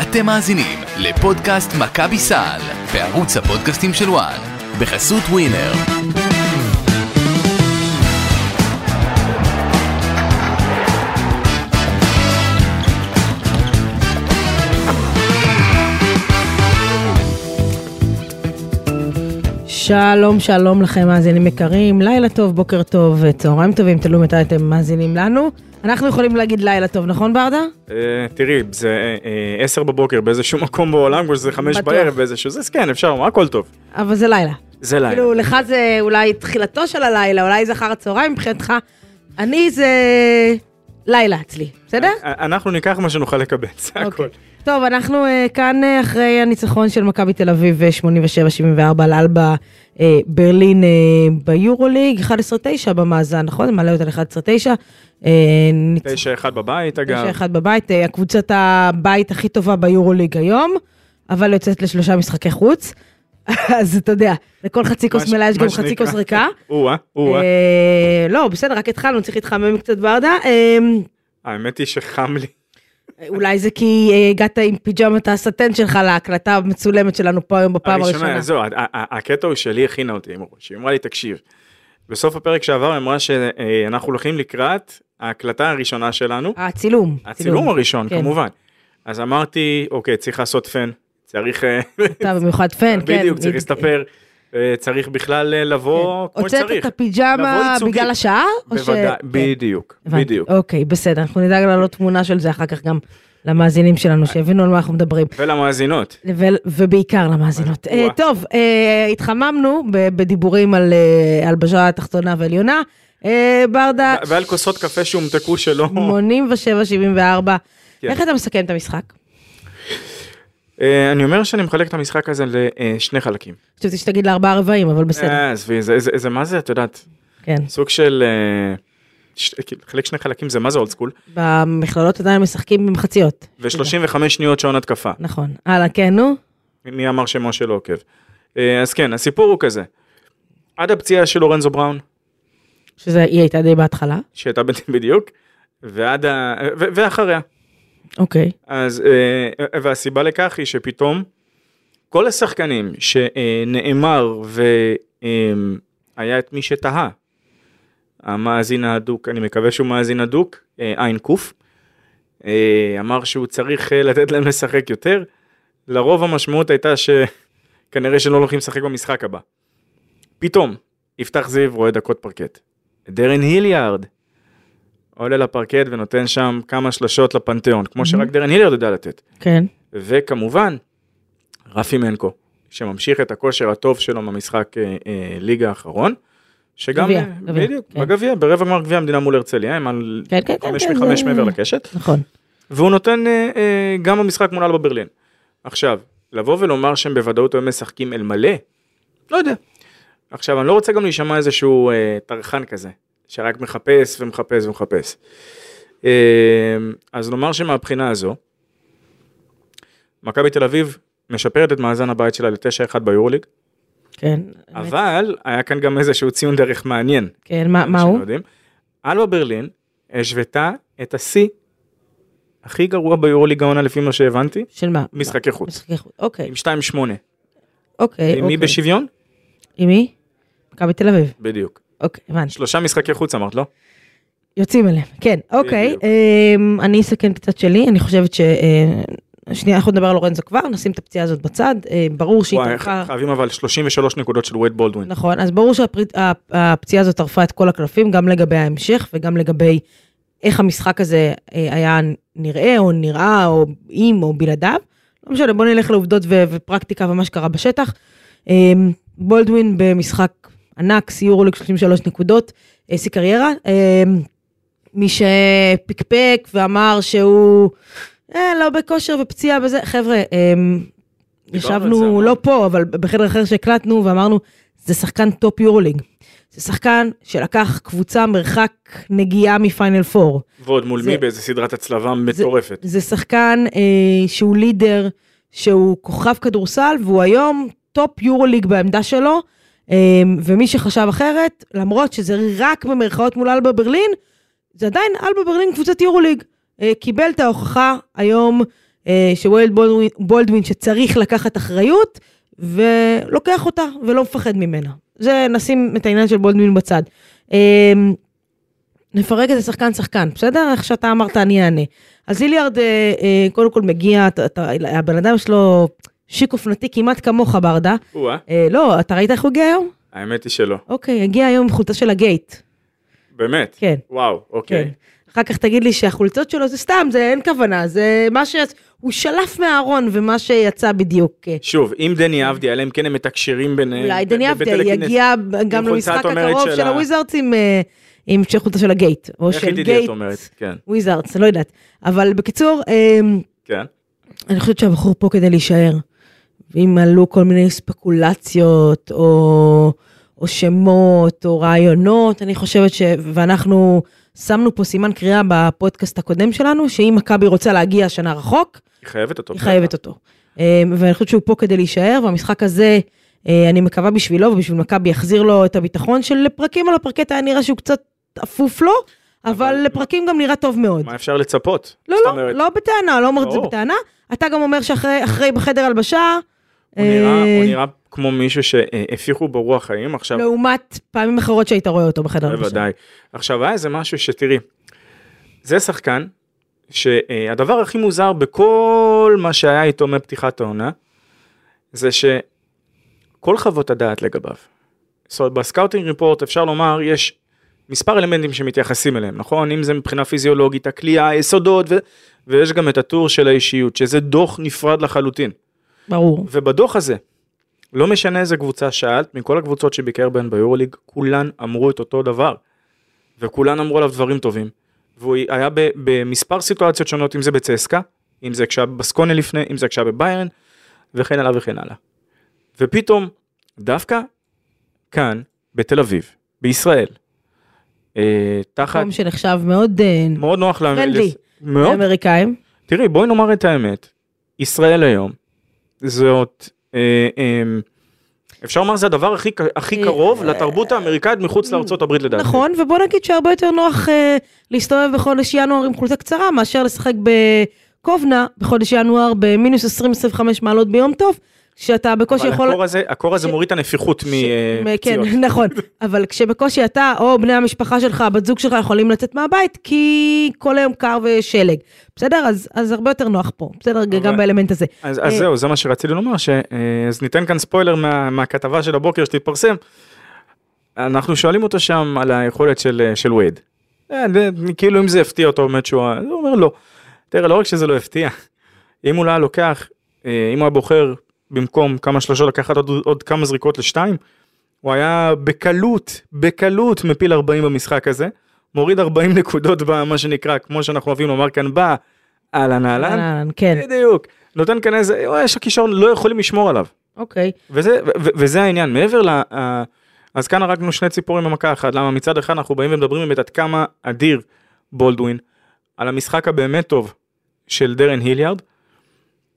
אתם מאזינים לפודקאסט מכבי סל בערוץ הפודקאסטים של וואן בחסות ווינר. שלום, שלום לכם, מאזינים יקרים, לילה טוב, בוקר טוב, צהריים טובים, תלוי מתי אתם מאזינים לנו. אנחנו יכולים להגיד לילה טוב, נכון ברדה? אה, תראי, זה אה, עשר בבוקר באיזשהו מקום בעולם, כמו שזה חמש בטוח. בערב באיזשהו, זה כן, אפשר, הכל טוב. אבל זה לילה. זה לילה. כאילו, לך זה אולי תחילתו של הלילה, אולי זה אחר הצהריים מבחינתך. אני זה לילה אצלי, בסדר? א- אה, אנחנו ניקח מה שנוכל לקבץ, זה הכל. אוקיי. טוב, אנחנו אה, כאן אה, אחרי הניצחון של מכבי תל אביב אה, 87-74 על אלבה אה, ברלין אה, ביורוליג, 11-9 במאזן, נכון? זה מעלה אותה ל-11-9. אה, ניצ- תשע אחד בבית, אגב. 9-1 בבית, אה, הקבוצת הבית הכי טובה ביורוליג היום, אבל יוצאת לשלושה משחקי חוץ. אז אתה יודע, לכל חצי מה כוס ש- מלאה יש מה גם חצי שנקרא. כוס ריקה. או-אה, או-אה. אה, לא, בסדר, רק התחלנו, צריך להתחמם קצת ברדה. אה, האמת היא שחם לי. אולי זה כי אה, הגעת עם פיג'מת הסטן שלך להקלטה המצולמת שלנו פה היום בפעם הראשונה. זהו, ה- ה- ה- הקטע הוא שלי הכינה אותי עם הראש, היא אמרה לי, תקשיב, בסוף הפרק שעבר היא אמרה שאנחנו הולכים לקראת ההקלטה הראשונה שלנו, הצילום. הצילום הראשון, אה, כן. כמובן. אז אמרתי, אוקיי, צריך לעשות פן, צריך אה, אתה במיוחד פן, כן. בדיוק, צריך להסתפר, אה, צריך בכלל אה, לבוא כמו כן. הוצאת שצריך. את הפיג'מה לבוא ייצוגי. בגלל השעה? או ש- בוודאי, כן. בדיוק, הבנתי. בדיוק. אוקיי, בסדר, אנחנו נדאג להעלות תמונה של זה אחר כך גם למאזינים שלנו, שיבינו על מה אנחנו מדברים. ולמאזינות, ו- ובעיקר למאזינות. וואו. אה, טוב, אה, התחממנו ב- בדיבורים על אה, הלבשה תחתונה ועליונה. אה, ברדה, ו- ועל כוסות קפה שהומתקו שלא... 87-74. כן. איך אתה מסכם את המשחק? אה, אני אומר שאני מחלק את המשחק הזה לשני חלקים. חשבתי שתגיד לארבעה רבעים, אבל בסדר, אה, עזבי, זה- זה- זה מה זה, את יודעת, כן. סוג של... אה, ש- כאילו, חלק שני חלקים זה מה זה אולד סקול, במכללות עדיין משחקים במחציות. ו-35 שניות שעון התקפה. נכון. הלאה, כן, נו. מי אמר שמשה לא עוקב? אה, אז כן, הסיפור הוא כזה. עד הפציעה של לורנזו בראון, שזה, היא הייתה די בהתחלה. שהייתה ב- בדיוק, ועד ה... ו- ואחריה. אוקיי. אז, אה, והסיבה לכך היא שפתאום כל השחקנים שנאמר והיה את מי שתהה, המאזין ההדוק, אני מקווה שהוא מאזין הדוק, אה, עין קוף, אה, אמר שהוא צריך אה, לתת להם לשחק יותר, לרוב המשמעות הייתה שכנראה שלא הולכים לשחק במשחק הבא. פתאום, יפתח זיו רואה דקות פרקט. דרן היליארד עולה לפרקט ונותן שם כמה שלשות לפנתיאון, כמו שרק דרן היליארד יודע לתת. כן. וכמובן, רפי מנקו, שממשיך את הכושר הטוב שלו במשחק אה, אה, ליגה האחרון, שגם, גביע, אה, גביע, בדיוק, כן. בגביע, ברבע גמר גביע המדינה מול הרצליה, הם על כן, כן, כן. חמש כן, מחמש זה- מעבר לקשת, נכון. והוא נותן אה, אה, גם במשחק מול אלבה ברלין. עכשיו, לבוא ולומר שהם בוודאות היו משחקים אל מלא, לא יודע. עכשיו, אני לא רוצה גם להישמע איזשהו אה, טרחן כזה, שרק מחפש ומחפש ומחפש. אה, אז נאמר שמהבחינה הזו, מכבי תל אביב משפרת את מאזן הבית שלה ל-9-1 ביורוליג, כן. אבל היה כאן גם איזשהו ציון דרך מעניין. כן, מה- מה שלא הוא? יודעים. אלבה ברלין השוותה את השיא הכי גרוע ביורוליג העונה לפי מה שהבנתי, של מה? משחקי חוץ. משחקי חוץ. אוקיי, עם 2-8. אוקיי. עם מי אוקיי. בשוויון? עם מי? מכבי תל אביב. בדיוק. אוקיי, הבנתי. שלושה משחקי חוץ אמרת, לא? יוצאים אליהם. כן, אוקיי. בדיוק. אמ, אני אסכם קצת שלי, אני חושבת ש... אה, שנייה, אנחנו נדבר על לורנזו כבר, נשים את הפציעה הזאת בצד. אה, ברור שהיא וואי, טרחה... חייבים אבל 33 נקודות של וייד בולדווין. נכון, אז ברור שהפציעה הזאת טרפה את כל הקלפים, גם לגבי ההמשך וגם לגבי איך המשחק הזה אה, היה נראה, או נראה, או עם, או בלעדיו. לא משנה, בוא נלך לעובדות ו- ופרקטיקה ומה שקרה בשטח. אה, בולדווין במשחק ענק, סיור עולה 33 נקודות, שיא קריירה. אה, מי שפקפק ואמר שהוא אה, לא בכושר ופציעה וזה, חבר'ה, אה, על זה ישבנו, המון. לא פה, אבל בחדר אחר שהקלטנו ואמרנו, זה שחקן טופ יורוליג. זה שחקן שלקח קבוצה מרחק נגיעה מפיינל פור. ועוד מול נכון. זה- מי באיזה סדרת הצלבה מטורפת. זה שחקן אה, שהוא לידר, שהוא כוכב כדורסל, והוא היום טופ יורוליג בעמדה שלו, אה, ומי שחשב אחרת, למרות שזה רק במרכאות מול אלבה ברלין, זה עדיין אלבה ברלין קבוצת יורוליג. אה, קיבל את ההוכחה היום אה, שוולד בולדווין, בולדווין שצריך לקחת אחריות, ולוקח אותה ולא מפחד ממנה. זה, נשים את העניין של בולדווין בצד. אה, נפרק את זה שחקן שחקן, בסדר? איך שאתה אמרת, אני אענה. אז איליארד אה, אה, קודם כל מגיע, אתה, אתה, הבן אדם שלו שיק אופנתי כמעט כמוך ברדה. או-אה, אה, לא, אתה ראית איך הוא הגיע היום? האמת היא שלא. אוקיי, הגיע היום עם חולצה של הגייט. באמת? כן. וואו, כן. אוקיי. אחר כך תגיד לי שהחולצות שלו זה סתם, זה אין כוונה, זה מה ש... הוא שלף מהארון ומה שיצא בדיוק. אה, שוב, אם דני אבדיה, אלא אם כן הם מתקשרים ביניהם. אולי דני ב- אבדיה בטלקינס. יגיע עם גם חולצה, למשחק את אומרת, הקרוב של של ה- הוויזארדס עם, אה, עם חולצה של הגייט, או איך של ידידי את גייט אומרת, כן, וויזארדס, לא יודעת. אבל בקיצור, אמ, כן. אני חושבת שהבחור פה כדי להישאר. ואם עלו כל מיני ספקולציות, או, או שמות, או רעיונות, אני חושבת ש... ואנחנו שמנו פה סימן קריאה בפודקאסט הקודם שלנו, שאם מכבי רוצה להגיע השנה רחוק, היא חייבת אותו. היא חייבת אותו. אה, ואני חושבת שהוא פה כדי להישאר, והמשחק הזה, אה, אני מקווה בשבילו ובשביל מכבי יחזיר לו את הביטחון של לפרקים על הפרקט היה נראה שהוא קצת אפוף לו, אבל אבל- לפרקים גם נראה טוב מאוד. מה אפשר לצפות? לא, זאת לא, אומרת, לא בטענה, לא אומרת את זה ברור. בטענה. אתה גם אומר שאחרי אחרי בחדר הלבשה, הוא נראה- אה, לא. הוא נראה כמו מישהו שהפיחו בו רוח חיים עכשיו. לא, לעומת פעמים אחרות שהיית רואה אותו בחדר הלבשה. בוודאי. עכשיו היה איזה משהו שתראי, זה שחקן שהדבר הכי מוזר בכל מה שהיה איתו מפתיחת העונה, זה שכל חוות הדעת לגביו. זאת אומרת, בסקאוטינג ריפורט אפשר לומר, יש מספר אלמנטים שמתייחסים אליהם, נכון? אם זה מבחינה פיזיולוגית, הכלייה, היסודות, ו... ויש גם את הטור של האישיות, שזה דוח נפרד לחלוטין. ברור. ובדוח הזה, לא משנה איזה קבוצה שאלת, מכל הקבוצות שביקר בהן ביורוליג, כולן אמרו את אותו דבר. וכולן אמרו עליו דברים טובים. והוא היה ב- במספר סיטואציות שונות, אם זה בצסקה, אם זה כשהיה בבסקונה לפני, אם זה כשהיה בביירן, וכן הלאה וכן הלאה. ופתאום, דווקא כאן, בתל אביב, בישראל, אה, תחת, מקום שנחשב מאוד אה, מאוד נוח לה- friendly. לס- מאוד, לאמריקאים. תראי, בואי נאמר את האמת, ישראל היום, זאת, אה, אה, אפשר לומר זה הדבר הכי, ק- הכי אה, קרוב לתרבות האמריקאית מחוץ לארצות הברית לדעתי. נכון, ובוא נגיד שהרבה יותר נוח אה, להסתובב בחודש ינואר עם חולצה קצרה, מאשר לשחק בקובנה בחודש ינואר במינוס 20-25 מעלות ביום טוב, שאתה בקושי אבל יכול... הקור הזה, הקור הזה ש- מוריד את הנפיחות ש- מ- כן, מפציעות. נכון, אבל כשבקושי אתה או בני המשפחה שלך, בת זוג שלך, יכולים לצאת מהבית, כי כל היום קר ושלג. בסדר? אז, אז הרבה יותר נוח פה, בסדר? אוקיי. גם באלמנט הזה. אז, אז אה, זהו, זה מה שרציתי לומר, ש, אה, אז ניתן כאן ספוילר מה, מהכתבה של הבוקר שתתפרסם. אנחנו שואלים אותו שם על היכולת של, אה, של וייד. אה, זה- כאילו אם זה הפתיע אותו באמת שהוא, ה- הוא אומר לא. תראה, לא רק שזה לא הפתיע, אם הוא לא היה לוקח, אה, אם הוא היה בוחר במקום כמה שלושות לקחת עוד, עוד כמה זריקות לשתיים, הוא היה בקלות, בקלות מפיל 40 במשחק הזה, מוריד 40 נקודות במה שנקרא, כמו שאנחנו אוהבים לומר כאן, בא, אהלן אהלן, אה, אהלן, כן, בדיוק. נותן כאן איזה, "אוי, יש הכישרון, לא יכולים לשמור עליו. אוקיי. וזה, ו- ו- וזה העניין, מעבר ל... ה- אז כאן הרגנו שני ציפורים במכה אחת, למה מצד אחד אנחנו באים ומדברים באמת עד כמה אדיר בולדווין, על המשחק הבאמת טוב של דרן היליארד,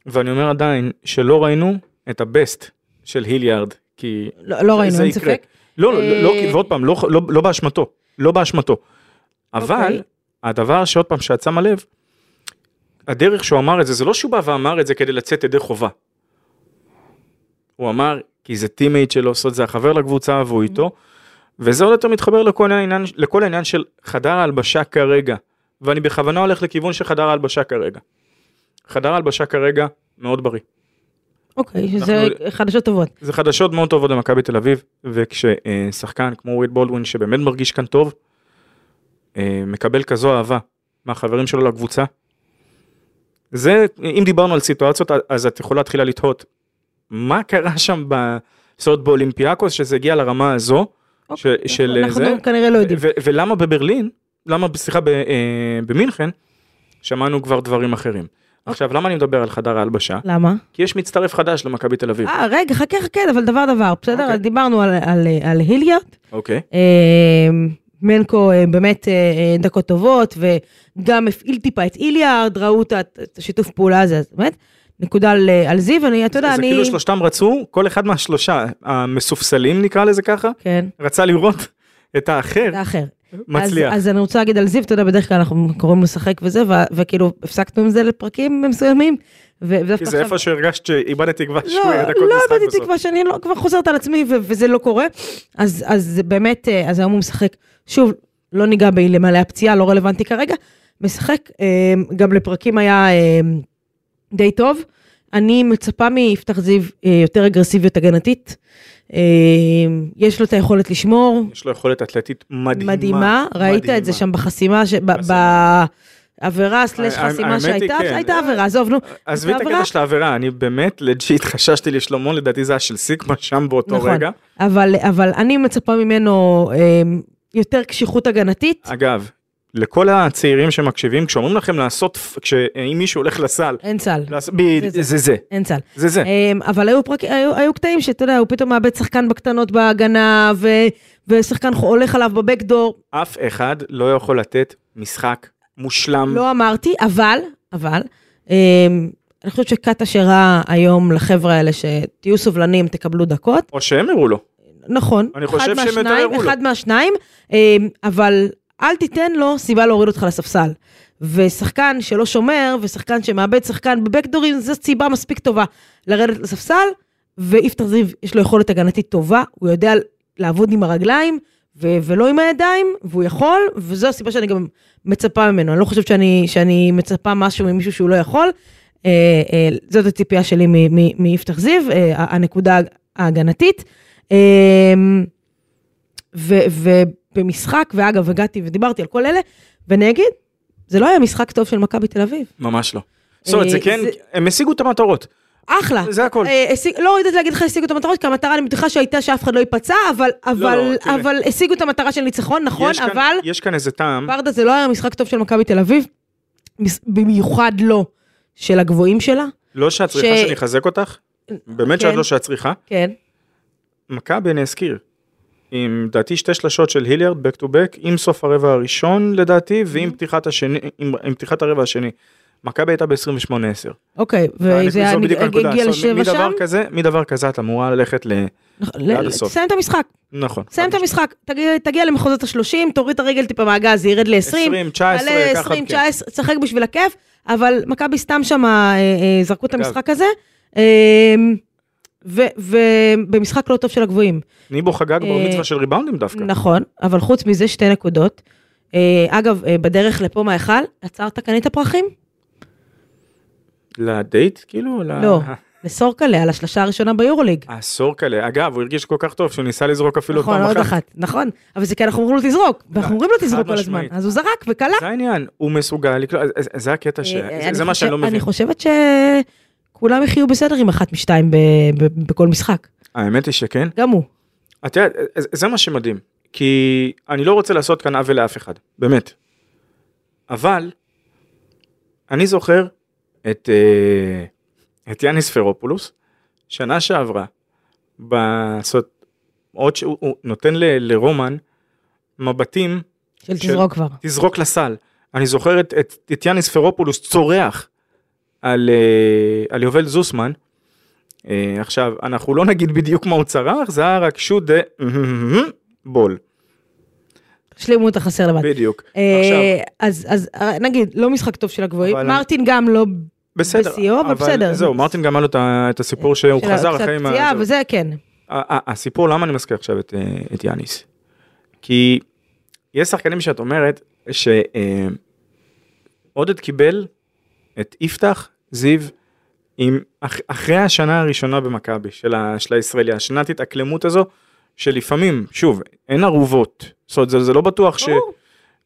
ואני אומר עדיין שלא ראינו את הבסט של היליארד, כי לא, לא ראינו, זה אין יקרה. ספק. לא, לא, לא, אה, לא, ועוד פעם, לא, לא, לא באשמתו, לא באשמתו. אוקיי. אבל, הדבר שעוד פעם, שאת שמה לב, הדרך שהוא אמר את זה, זה לא שהוא בא ואמר את זה כדי לצאת ידי חובה. הוא אמר, כי זה טימייט שלו, זאת אומרת, זה החבר לקבוצה והוא איתו, וזה עוד יותר מתחבר לכל העניין, לכל העניין של חדר ההלבשה כרגע, ואני בכוונה הולך לכיוון של חדר ההלבשה כרגע. חדר ההלבשה כרגע מאוד בריא. אוקיי, שזה לא- חדשות טובות. זה חדשות מאוד טובות למכבי תל אביב, וכששחקן כמו וויד בולדווין שבאמת מרגיש כאן טוב, אה, מקבל כזו אהבה מהחברים שלו לקבוצה. זה, אם דיברנו על סיטואציות, אז את יכולה להתחילה לתהות. מה קרה שם בסוד באולימפיאקוס, שזה הגיע לרמה הזו, ש- אוקיי, של אה, אנחנו זה, כנראה לא יודעים. ו- ו- ולמה בברלין, למה, סליחה, ב- אה, במינכן, שמענו כבר דברים אחרים. עכשיו, למה אני מדבר על חדר ההלבשה? למה? כי יש מצטרף חדש למכבי תל אביב. אה, רגע, חכה, חכה, אבל דבר דבר, בסדר? אוקיי. אז דיברנו על- על אה, על היליארד, אוקיי. אה, מנקו אה, באמת אה, אה, דקות טובות, וגם הפעיל טיפה את איליארד, ראו את ה- את השיתוף פעולה הזה, אז באמת, נקודה על אה, על זיו, אני, אתה יודע, זה אני... כאילו שלושתם רצו, כל אחד מהשלושה המסופסלים נקרא לזה ככה, כן, רצה לראות את האחר זה אחר. מצליח. אז, אז אני רוצה להגיד על זיו, אתה יודע, בדרך כלל אנחנו קוראים לו לשחק וזה, ו- וכאילו הפסקנו עם זה לפרקים מסוימים, ו- ודווקא כי זה עכשיו- איפה שהרגשת שאיבדת תקווה שהוא ירד לא, הכל משחק לא איבדתי בסוף. תקווה שאני לא, כבר חוזרת על עצמי ו- וזה לא קורה. אז, אז זה באמת, אה, אז היום הוא משחק, שוב, לא ניגע באלמלא הפציעה, לא רלוונטי כרגע, משחק, אה, גם לפרקים היה אה, די טוב. אני מצפה מיפתח זיו אה, יותר אגרסיביות הגנתית. אה, יש לו את היכולת לשמור, יש לו יכולת אתלטית מדהימה. מדהימה, ראית את זה שם בחסימה, ש- ב- חסימה. בעבירה סלש האמת היא, חסימה שהייתה, כן. הייתה עבירה, עזוב, נו. עזבי את בעבירה- הקטע של העבירה, אני באמת לג'יט חששתי לשלומו, לדעתי זה היה של סיקמה שם באותו נכון. רגע. אבל, אבל אני מצפה ממנו אה, יותר קשיחות הגנתית. אגב, לכל הצעירים שמקשיבים, כשאומרים לכם לעשות, פ- כשאם מישהו הולך לסל, אין סל, לעשות- ב- זה זה. זה זה, אין סל. זה זה. אה, אבל היו, פרק, היו, היו קטעים שאתה יודע, הוא פתאום מאבד שחקן בקטנות בהגנה, ו, ושחקן ח- הולך עליו בבקדור. אף אחד לא יכול לתת משחק מושלם. לא אמרתי, אבל, אבל, אה, אני חושבת שקאט אשרה היום לחבר'ה האלה, שתהיו סובלנים, תקבלו דקות. או שהם הראו לו. נכון, אני חושב אחד שהם יותר מהשניים, הראו לו. אחד מהשניים, אה, אבל אל תיתן לו סיבה להוריד אותך לספסל. ושחקן שלא שומר, ושחקן שמאבד שחקן בבקדורים, זו סיבה מספיק טובה לרדת לספסל, ויפתח זיו יש לו יכולת הגנתית טובה, הוא יודע לעבוד עם הרגליים, ו- ולא עם הידיים, והוא יכול, וזו הסיבה שאני גם מצפה ממנו. אני לא חושבת שאני, שאני מצפה משהו ממישהו שהוא לא יכול. אה, אה, זאת הציפייה שלי מ- מ- מיפתח זיו, אה, ה- הנקודה ההגנתית. אמ, ו- ובמשחק, ואגב, הגעתי ודיברתי על כל אלה, ואני אגיד, זה לא היה משחק טוב של מכבי תל אביב. ממש לא. זאת אומרת, אה, זה כן, זה- הם השיגו את המטרות. אחלה. זה הכל. אה, השיג- לא יודעת להגיד לך השיגו את המטרות, כי המטרה אני בטוחה שהייתה שאף אחד לא ייפצע, אבל- אבל- תראה. אבל השיגו את המטרה של ניצחון, נכון, יש כאן- אבל יש כאן איזה טעם. ברדה זה לא היה משחק טוב של מכבי תל אביב, מס- במיוחד לא של הגבוהים שלה. לא שאת צריכה ש- שאני אחזק אותך, באמת כן. שאת לא שאת צריכה. כן. מכבי אני אזכיר, עם לדעתי שתי שלשות של היליארד back to back, עם סוף הרבע הראשון לדעתי, Mm-hmm. ועם פתיחת השני, עם, עם פתיחת הרבע השני. מכבי הייתה ב-28-10. אוקיי, וזה היה- הגיע לשבע מדבר שם. כזה, מדבר כזה את אמורה ללכת ל... נכון, עד ל- הסוף. תסיים את המשחק. נכון. סיים את המשחק, תגיע, תגיע למחוזות ה-30, תוריד את הרגל טיפה מהגז, זה ירד ל-20. 20, 19, תעלה ככה, 20, כן. 19, תשחק בשביל הכיף, אבל מכבי סתם שם אה, אה, זרקו את אגב. המשחק הזה. אה, ו- ובמשחק לא טוב של הגבוהים. ניבו חגג בר אה, מצווה של ריבאונדים דווקא. נכון, אבל חוץ מזה שתי נקודות. אה, אגב, אה, בדרך לפה מההיכל, עצרת, קנית פרחים? לדייט כאילו? ל- לא. לסורקלה, על השלושה הראשונה ביורוליג. הסורקלה. אגב, הוא הרגיש כל כך טוב שהוא ניסה לזרוק אפילו נכון, פעם עוד אחת. אה, אחת, נכון. אבל זה כי אנחנו אומרים לו תזרוק, ואנחנו אומרים לו תזרוק כל הזמן. משמעית. אז הוא זרק וקלע. זה העניין, הוא מסוגל לקלוע, אז- אז- אז זה הקטע ש... אה, זה- אני זה מה חושב- שאני לא אני מבין. חושבת שכולם יחיו בסדר עם אחת משתיים ב- ב- בכל משחק. האמת היא שכן. גם הוא. את יודעת, זה- זה מה שמדהים, כי אני לא רוצה לעשות כאן עוול לאף אחד, באמת. אבל, אני זוכר את, אה, את יאניס פרופולוס, שנה שעברה, בסוד, עוד שהוא הוא נותן ל, לרומן מבטים, של של- תזרוק כבר. תזרוק לסל. אני זוכר את, את, את יאניס פרופולוס צורח על, אה, על יובל זוסמן. אה, עכשיו, אנחנו לא נגיד בדיוק מה הוא צרח, זה היה רק שוט דה בול, השלימו את החסר לבד. בדיוק. אה, עכשיו, אז אז, אה, נגיד, לא משחק טוב של הגבוהים. אבל- מרטין גם לא בסדר, בשיאו, אבל בסדר. אה, זהו, מרטין גם היה לו את ה- את הסיפור שהוא של חזר קצת אחרי... עם ה- פציעה, זהו. וזה כן. ה- ה- הסיפור למה אני מזכיר עכשיו את, אה, את יאניס. כי יש שחקנים שאת אומרת שעודד קיבל את יפתח זיו עם אח, אחרי השנה הראשונה במכבי של, ה, של הישראלי השנת התאקלמות הזו שלפעמים שוב אין ערובות זאת אומרת, זה, זה לא בטוח ש... ברור.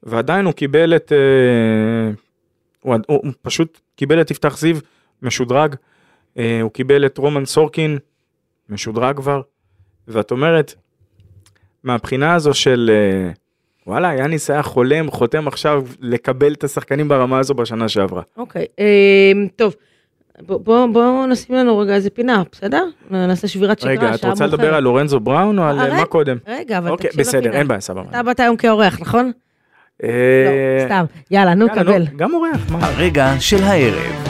ועדיין הוא קיבל את... אה, הוא, עד- הוא, הוא פשוט קיבל את יפתח זיו, משודרג, אה, הוא קיבל את רומן סורקין, משודרג כבר, ואת אומרת, מהבחינה הזו של אה, וואלה, יאניס היה חולם, חותם עכשיו לקבל את השחקנים ברמה הזו בשנה שעברה. אוקיי, אה, טוב. בוא- בוא- בואו נשים לנו רגע איזה פינה, בסדר? נעשה שבירת שגרה, רגע, את שעה רוצה לדבר מאוחרת. על לורנזו בראון או על אה, אה, מה רגע, קודם? רגע, אבל אוקיי, תקשיב בסדר, לפינה. אין בעיה, סבבה. אתה באת היום כאורח, נכון? לא, אה, סתם. יאללה, נו, יאללה, קבל. נו, גם אורח, מה? הרגע של הערב.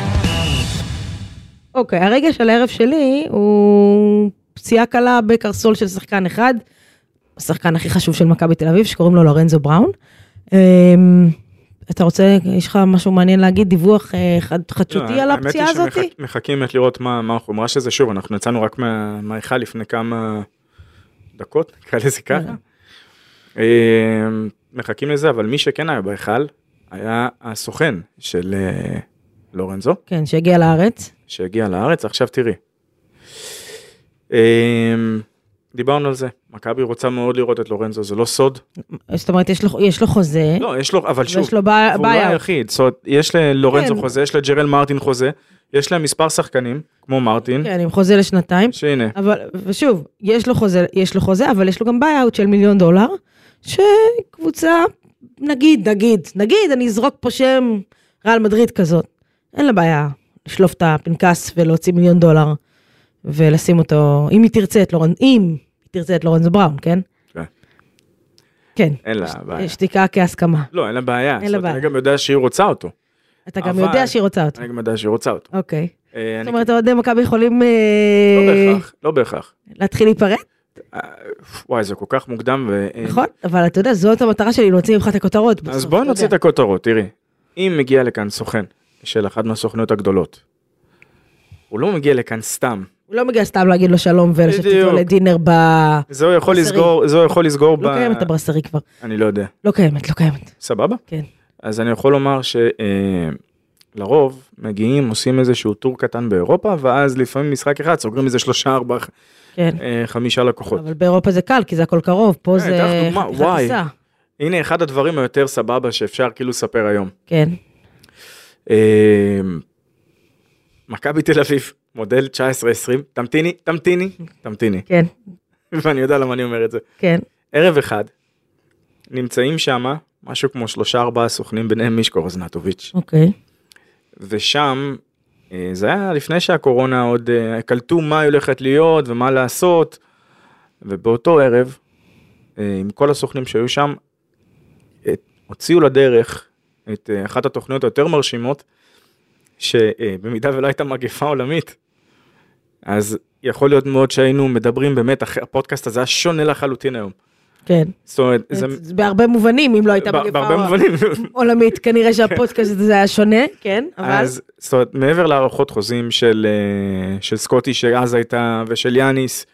אוקיי, הרגע של הערב שלי הוא פציעה קלה בקרסול של שחקן אחד, השחקן הכי חשוב של מכבי תל אביב, שקוראים לו לורנזו בראון. אמ, אתה רוצה, יש לך משהו מעניין להגיד, דיווח אה, חד- לא, חדשותי על הפציעה הזאת? האמת היא שמחכים באמת לראות מה מה החומרה של זה, שוב, אנחנו יצאנו רק מה- מההיכל לפני כמה דקות, נקרא לזה ככה. כן. אה, מחכים לזה, אבל מי שכן היה בהיכל, היה הסוכן של אה, לורנזו, כן, שהגיע לארץ. שהגיע לארץ, עכשיו תראי. אה, דיברנו על זה, מכבי רוצה מאוד לראות את לורנזו, זה לא סוד. זאת אומרת, יש לו, יש לו חוזה, לא, יש לו, אבל שוב, ויש לו בעיה. והוא לא היחיד, זאת אומרת, יש ללורנזו כן. חוזה, יש לג'רל מרטין חוזה, יש להם מספר שחקנים, כמו מרטין, כן, עם חוזה לשנתיים. שהנה, אבל, ושוב, יש לו חוזה, יש לו חוזה, אבל יש לו גם ביי-אוט של מיליון דולר, שקבוצה, נגיד, נגיד, נגיד, אני אזרוק פה שם ריאל מדריד כזאת. אין לה בעיה לשלוף את הפנקס ולהוציא מיליון דולר, ולשים אותו, אם היא תרצה את לורנ... אם היא תרצה את לורנזו בראון, כן? כן. כן, אין לה בעיה. שתיקה כהסכמה. לא, אין לה בעיה. לה זאת אומרת, בעיה. אני גם יודע שהיא רוצה אותו. אתה גם אבל- יודע שהיא רוצה אותו. אני גם יודע שהיא רוצה אותו. אוקיי. אה, זאת אני- אומרת, אוהדי מכבי יכולים לא אה, בהכרח, כן. לא בהכרח. להתחיל להיפרד? וואי, זה כל כך מוקדם. ו- אה, נכון, אבל אתה יודע, זאת המטרה שלי, להוציא ממך את הכותרות בסוף. אז בואו אתה נוציא את יודע. הכותרות, תראי. אם מגיע לכאן סוכן של אחת מהסוכנויות הגדולות, הוא לא מגיע לכאן סתם. הוא לא מגיע סתם להגיד לו שלום ולשבת בדיוק. איתו לדינר ב... זה הוא יכול ברסרי. לסגור, זה הוא יכול לסגור ב... לא קיימת הברסרי כבר. אני לא יודע. לא קיימת, לא קיימת. סבבה? כן. אז אני יכול לומר שלרוב מגיעים, עושים איזשהו טור קטן באירופה, ואז לפעמים משחק אחד סוגרים איזה שלושה, ארבעה, כן. אה, חמישה לקוחות. אבל באירופה זה קל, כי זה הכל קרוב, פה אה, זה אתן לך דוגמה, חתיכת וואי. טיסה. הנה אחד הדברים היותר סבבה שאפשר כאילו לספר היום. כן. אה, מכבי תל אביב, מודל 19-20, תמתיני, תמתיני, תמתיני, כן, ואני יודע למה אני אומר את זה. כן. ערב אחד, נמצאים שמה משהו כמו שלושה ארבעה סוכנים, ביניהם מישקו רוזנטוביץ', אוקיי. ושם, אה, זה היה לפני שהקורונה עוד אה, קלטו מה היא הולכת להיות ומה לעשות, ובאותו ערב, אה, עם כל הסוכנים שהיו שם, אה, הוציאו לדרך את אה, אחת התוכניות היותר מרשימות, שבמידה ולא הייתה מגפה עולמית, אז יכול להיות מאוד שהיינו מדברים באמת, אחרי הפודקאסט הזה היה שונה לחלוטין היום. כן. זאת אומרת, זה... זה בהרבה מובנים, אם לא הייתה בה- מגפה בהרבה מובנים. עולמית, כנראה שהפודקאסט הזה היה שונה, כן, אבל... אז זאת אומרת מעבר להערכות חוזים של אה, של סקוטי שאז הייתה ושל יאניס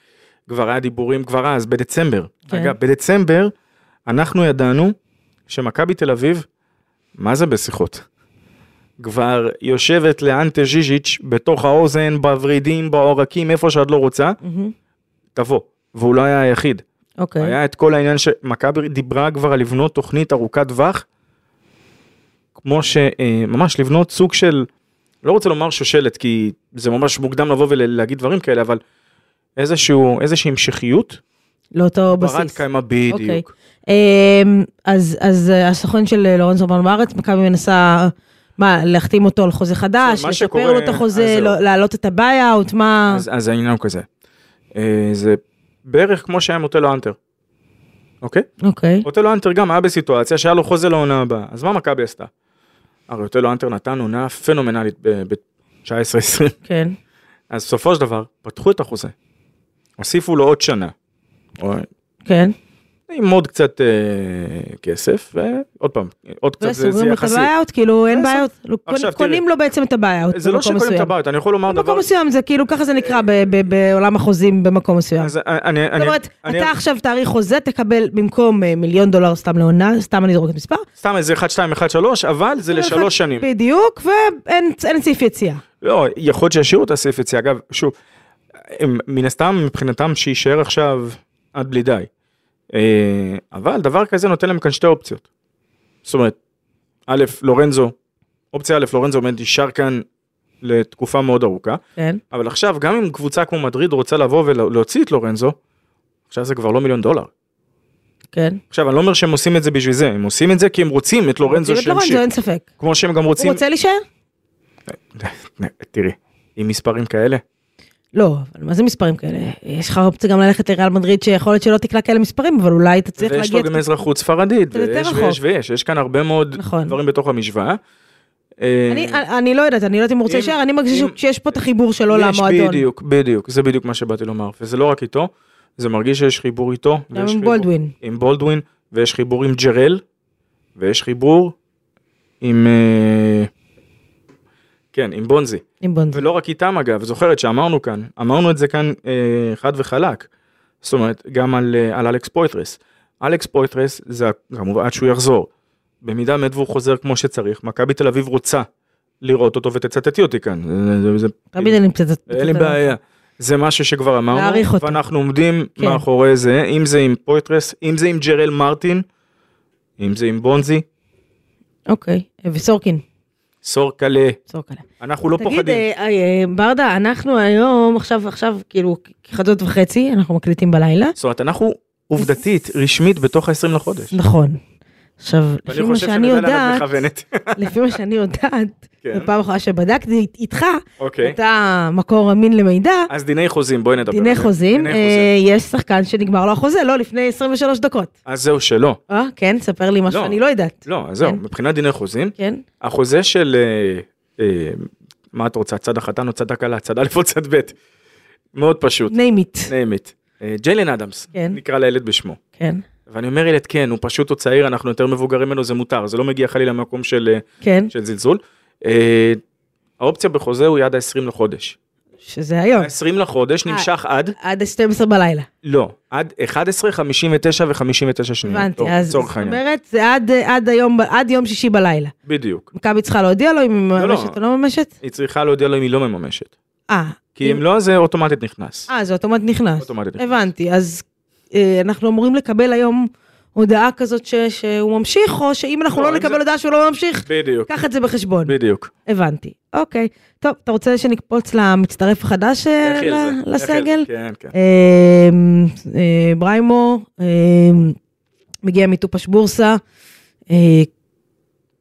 כבר היה דיבורים כבר אז בדצמבר כן. אגב בדצמבר אנחנו ידענו שמכבי תל אביב מה זה בשיחות. כבר יושבת לאנטה ז'יז'יץ' בתוך האוזן בוורידים בעורקים איפה שאת לא רוצה מהמם. תבוא והוא לא היה היחיד אוקיי. היה את כל העניין שמכבי דיברה כבר על לבנות תוכנית ארוכת טווח, כמו שממש לבנות סוג של, לא רוצה לומר שושלת, כי זה ממש מוקדם לבוא ולהגיד דברים כאלה, אבל איזשהו, איזושהי המשכיות, לאותו ברת בסיס. קיימא בדיוק. אמ, אז, אז אה, הסוכן של אה, לורנזו בן בארץ, מכבי מנסה, מה, להחתים אותו על חוזה חדש, מה לשפר שקורה- לו את אז החוזה, זהו. לא- להעלות את הביי-אוט, מה... אז, אז העניין הוא כזה, אה, זה בערך כמו שהיה עם אוטלו אנטר, אוקיי? אוקיי, אוטלו אנטר גם היה בסיטואציה שהיה לו חוזה לעונה הבאה, אז מה מכבי עשתה? הרי אוטלו אנטר נתן עונה פנומנלית ב-19-20. כן, אז בסופו של דבר, פתחו את החוזה, הוסיפו לו עוד שנה, או- כן. עם עוד קצת אה, כסף, ועוד פעם, עוד קצת זה, זה וסוגרים לו את יחסי. הביי-אוט, כאילו אין בסוף. ביי-אוט, לא, עכשיו, קונים לו בעצם את הביי-אוט זה לא במקום שקולים את מסוים. הבעיות, אני יכול לומר דבר, במקום מסוים זה כאילו ככה זה נקרא ב- ב- בעולם החוזים במקום מסוים. אז אני, אני, זאת אומרת, אני, אתה עכשיו תאריך חוזה, תקבל במקום אה, מיליון דולר סתם לעונה, סתם אני זורקת מספר, סתם איזה 1, 2, 1, 3, אבל זה לשלוש שנים. בדיוק, ואין אין סעיף יציאה. לא, יכול להיות שישאירו את הסעיף יציאה, אגב, שוב, הם, מן הסתם מבחינתם שיישאר עכשיו עד בלי די. אה, אבל דבר כזה נותן להם כאן שתי אופציות. זאת אומרת, א', לורנזו, אופציה א', לורנזו באמת נשאר כאן לתקופה מאוד ארוכה, כן. אבל עכשיו גם אם קבוצה כמו מדריד רוצה לבוא ולהוציא את לורנזו, עכשיו זה כבר לא מיליון דולר. כן. עכשיו אני לא אומר שהם עושים את זה בשביל זה, הם עושים את זה כי הם רוצים את לורנזו רוצים את לורנזו, שימשיך, נכון, אין ספק. כמו שהם גם הוא רוצים, רוצה להישאר? תראי, עם מספרים כאלה, לא, אבל מה זה מספרים כאלה? יש לך אופציה גם ללכת לריאל מדריד שיכול להיות שלא תקלע כאלה מספרים, אבל אולי תצליח ויש להגיע... לו גם אזרחות ספרדית, זה יותר ויש רחוק. ויש ויש, יש כאן הרבה מאוד נכון. דברים בתוך המשוואה. אה, אני, לא אני לא יודעת, אני לא יודעת אם הוא רוצה אם- להישאר, אני מרגישה אם- שיש פה את החיבור שלו למועדון. בדיוק, בדיוק, זה בדיוק מה שבאתי לומר, וזה לא רק איתו, זה מרגיש שיש חיבור איתו, גם ויש עם חיבור- בולדווין. עם בולדווין, ויש חיבור עם ג'רל, ויש חיבור עם... אה, כן, עם בונזי. עם בונזי. ולא רק איתם אגב, זוכרת שאמרנו כאן, אמרנו את זה כאן אה, חד וחלק. זאת אומרת, גם על, אה, על אלכס פויטרס. אלכס פויטרס זה כמובן עד שהוא יחזור. במידה באמת והוא חוזר כמו שצריך, מכבי תל אביב רוצה לראות אותו ותצטטי אותי כאן. זה, זה, זה, תמיד אני מצטטת. אין לי בעיה. זה משהו שכבר להעריך אמרנו, אותו. ואנחנו עומדים כן. מאחורי זה, אם זה עם פויטרס, אם זה עם ג'רל מרטין, אם זה עם בונזי, אוקיי, וסורקין, סורקלה, סורקלה. אנחנו לא תגיד, פוחדים. אה, אה, ברדה, אנחנו היום, עכשיו, עכשיו, כאילו, חדות וחצי, אנחנו מקליטים בלילה. זאת אומרת, אנחנו עובדתית, רשמית, בתוך ה-20 לחודש. נכון. עכשיו, לפי ואני מה חושב שאני שנתניה את יודעת, מכוונת. לפי מה שאני יודעת, כן. בפעם האחרונה שבדקתי איתך, אוקיי. אתה מקור אמין למידע, אז דיני חוזים, בואי נדבר. דיני על זה. חוזים, דיני אה, יש שחקן שנגמר לו החוזה, לא, לפני 23 דקות. אז זהו שלא. אה, כן, ספר לי משהו לא. שאני לא יודעת. לא, אז זהו, כן. מבחינת דיני חוזים, כן? החוזה של... אה, אה, מה את רוצה, צד החתן או צד הכלה, צד א' או צד ב'? מאוד פשוט, name it. name it. אה, ג'יילן אדמס, כן. נקרא לילד בשמו. כן, ואני אומר ילד כן, הוא פשוט עוד צעיר, אנחנו יותר מבוגרים ממנו, זה מותר, זה לא מגיע חלילה למקום של, אה, כן, של זלזול. אה, האופציה בחוזה הוא יד ה-20 לחודש. שזה היום. ה-20 לחודש אה. נמשך עד, עד 12 בלילה. לא, עד 11, 59 ו-59 שניות. הבנתי, טוב, אז לצורך זאת העניין. אומרת, זה עד- אה, עד היום, עד יום שישי בלילה. בדיוק. מכבי צריכה להודיע לו אם היא לא, לא. מממשת או לא מממשת? היא צריכה להודיע לו אם היא לא מממשת. אה, כי אם לא, זה אוטומטית נכנס. אה, זה אוטומט נכנס. אוטומטית נכנס. הבנתי, אז אה, אנחנו אמורים לקבל היום הודעה כזאת ש- שהוא ממשיך, או שאם אנחנו לא, לא אם נקבל זה- הודעה שהוא לא ממשיך, בדיוק, קח את זה בחשבון. בדיוק. הבנתי, אוקיי. טוב, אתה רוצה שנקפוץ למצטרף החדש אה, איך יהיה ל- זה? איך יהיה זה? לסגל? כן, כן. אה, אה, בריימו, אה, מגיע מטופש בורסה, אה,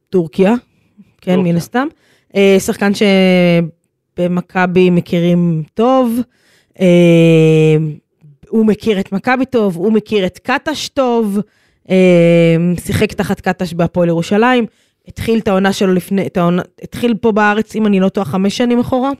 טורקיה, כן, טורקיה. מן הסתם. אה, שחקן שבמכבי מכירים טוב, אה, הוא מכיר את מכבי טוב, הוא מכיר את קטש טוב, אה, שיחק תחת קטש בהפועל ירושלים, התחיל את העונה שלו לפני, את העונה, התחיל פה בארץ, אם אני לא טועה, חמש שנים אחורה,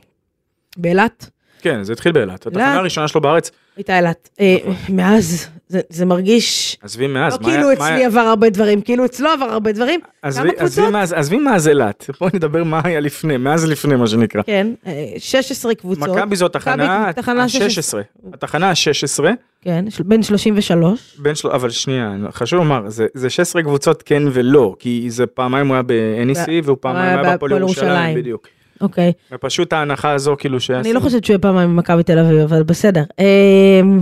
באילת. כן, זה התחיל באילת. התחנה לאט. הראשונה שלו בארץ, הייתה אילת. אה, מאז, זה- זה מרגיש, עזבי לא מאז. נכון. מה היה- כאילו מה אצלי היה- עבר הרבה דברים, כאילו אצלו עבר הרבה דברים. עזבי- כמה עזבי קבוצות? מאז- עזבי מאז אילת. בואי נדבר מה היה לפני, מאז לפני מה שנקרא. כן, אה, 16 קבוצות. מכבי אה, זו התחנה מכבי תחנה ה-16. התחנה ה-16, כן, של- בן 33. בין שלו, אבל שנייה, חשוב לומר, זה- זה 16 קבוצות כן ולא, כי זה פעמיים הוא היה ב-NEC והוא פעמיים היה בהפועל ירושלים, בדיוק. אוקיי. ופשוט ההנחה הזו כאילו ש... אני לא חושבת שהוא יהיה פעמיים במכבי תל אביב, אבל בסדר. אמ,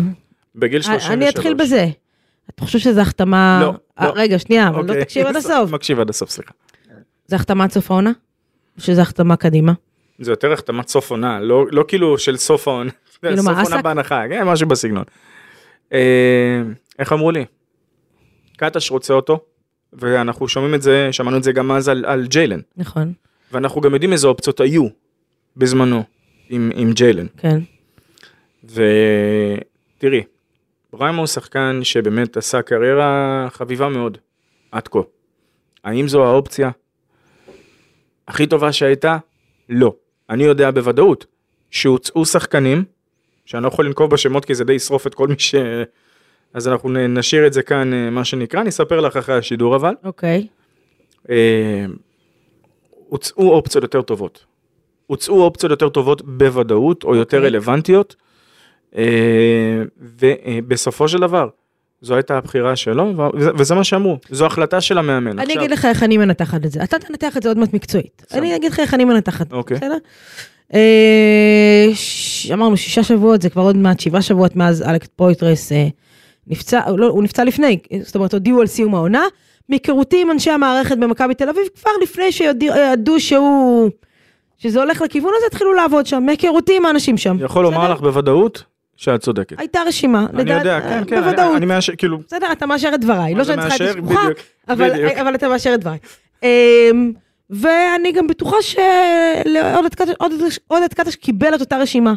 בגיל 33. אני אתחיל בזה. אתה חושב שזו החתמה... לא, אה, לא. רגע, שנייה, אבל לא אוקיי. תקשיב עד הסוף. מקשיב עד הסוף, סליחה. זו החתמה עד סוף העונה? או שזו החתמה קדימה? זה יותר החתמת סוף עונה, לא לא כאילו של סוף העונה. כאילו מה, סוף עונה אסק? בהנחה, כן, משהו בסגנון. אה, איך אמרו לי? קטש רוצה אותו, ואנחנו שומעים את זה, שמענו את זה גם אז על על ג'יילן. נכון, ואנחנו גם יודעים איזה אופציות היו בזמנו עם, עם ג'יילן. כן. ותראי, בריימו הוא שחקן שבאמת עשה קריירה חביבה מאוד עד כה. האם זו האופציה הכי טובה שהייתה? לא. אני יודע בוודאות שהוצאו שחקנים, שאני לא יכול לנקוב בשמות כי זה די ישרוף את כל מי ש... אז אנחנו נ- נשאיר את זה כאן, אה, מה שנקרא, אני אספר לך אחרי השידור אבל. אוקיי. אה, הוצאו אופציות יותר טובות. הוצאו אופציות יותר טובות בוודאות, או יותר אוקיי. רלוונטיות, אה, ובסופו של דבר, זו הייתה הבחירה שלו, וזה- וזה מה שאמרו, זו החלטה של המאמן. אני עכשיו, אגיד לך איך אני מנתחת את זה. אתה תנתח את זה עוד מעט מקצועית. בסדר. אני אגיד לך איך אני מנתחת את זה, אוקיי. בסדר? אה, ש- אמרנו שישה שבועות, זה כבר עוד מעט שבעה שבועות מאז אלכס פויטרס אה, נפצע, לא, הוא נפצע לפני, זאת אומרת הודיעו על סיום העונה. מהיכרותי עם אנשי המערכת במכבי תל אביב, כבר לפני שידעו שהוא... שזה הולך לכיוון הזה, התחילו לעבוד שם, מהיכרותי עם האנשים שם. אני יכול לומר בסדר? לך בוודאות שאת צודקת. הייתה רשימה, אני לדעת- יודע, אה, כן, כן, אני- בוודאות. אני מאשר, כאילו, בסדר, אתה מאשר את דבריי, מה לא זה שאני צריכה את מאשר? אשכוחה, בדיוק, בדיוק. אבל, אבל אתה מאשר את דבריי. אמ, ואני גם בטוחה שעודד קטש, עודד- עודד קטש קיבל את אותה רשימה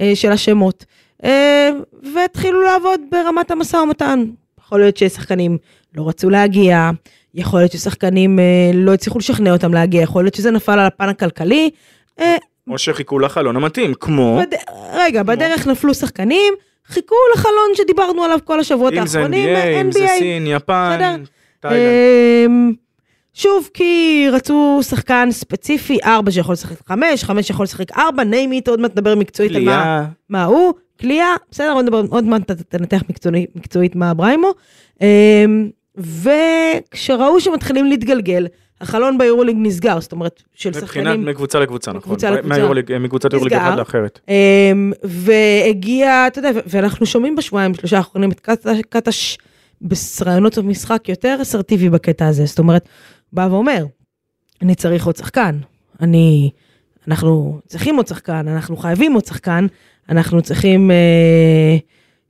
אה, של השמות, אמ, והתחילו לעבוד ברמת המשא ומתן. יכול להיות ששחקנים לא רצו להגיע, יכול להיות ששחקנים אה, לא הצליחו לשכנע אותם להגיע, יכול להיות שזה נפל על הפן הכלכלי. אה, או שחיכו לחלון המתאים, כמו, בד... רגע, בדרך נפלו שחקנים, חיכו לחלון שדיברנו עליו כל השבועות אם זה האחרונים, NBA, אם זה NBA. אה, סין, יפן, בסדר? תאילנד. אמ, שוב, כי רצו שחקן ספציפי, ארבע שיכול לשחק חמש, חמש שיכול לשחק ארבע, name it, עוד מעט נדבר מקצועית על מה, קליעה, מה הוא, קליעה, בסדר, עוד, נדבר- עוד מעט ת- תנתח מקצועי, מקצועית מה בריימו. וכשראו שמתחילים להתגלגל, החלון ביורולינג נסגר, זאת אומרת, של מבחינת שחקנים... מקבוצה לקבוצה, נכון. מקבוצה לקבוצה. מהיורוליג- מקבוצת יורוליג נסגר. אחת לאחרת. אמ, והגיע, אתה יודע, ו- ואנחנו שומעים בשבועיים, שלושה האחרונים את קטש- קטש בראיונות המשחק יותר אסרטיבי בקטע הזה. זאת אומרת, בא ואומר, אני צריך עוד שחקן, אני, אנחנו צריכים עוד שחקן, אנחנו חייבים עוד שחקן, אנחנו צריכים אה,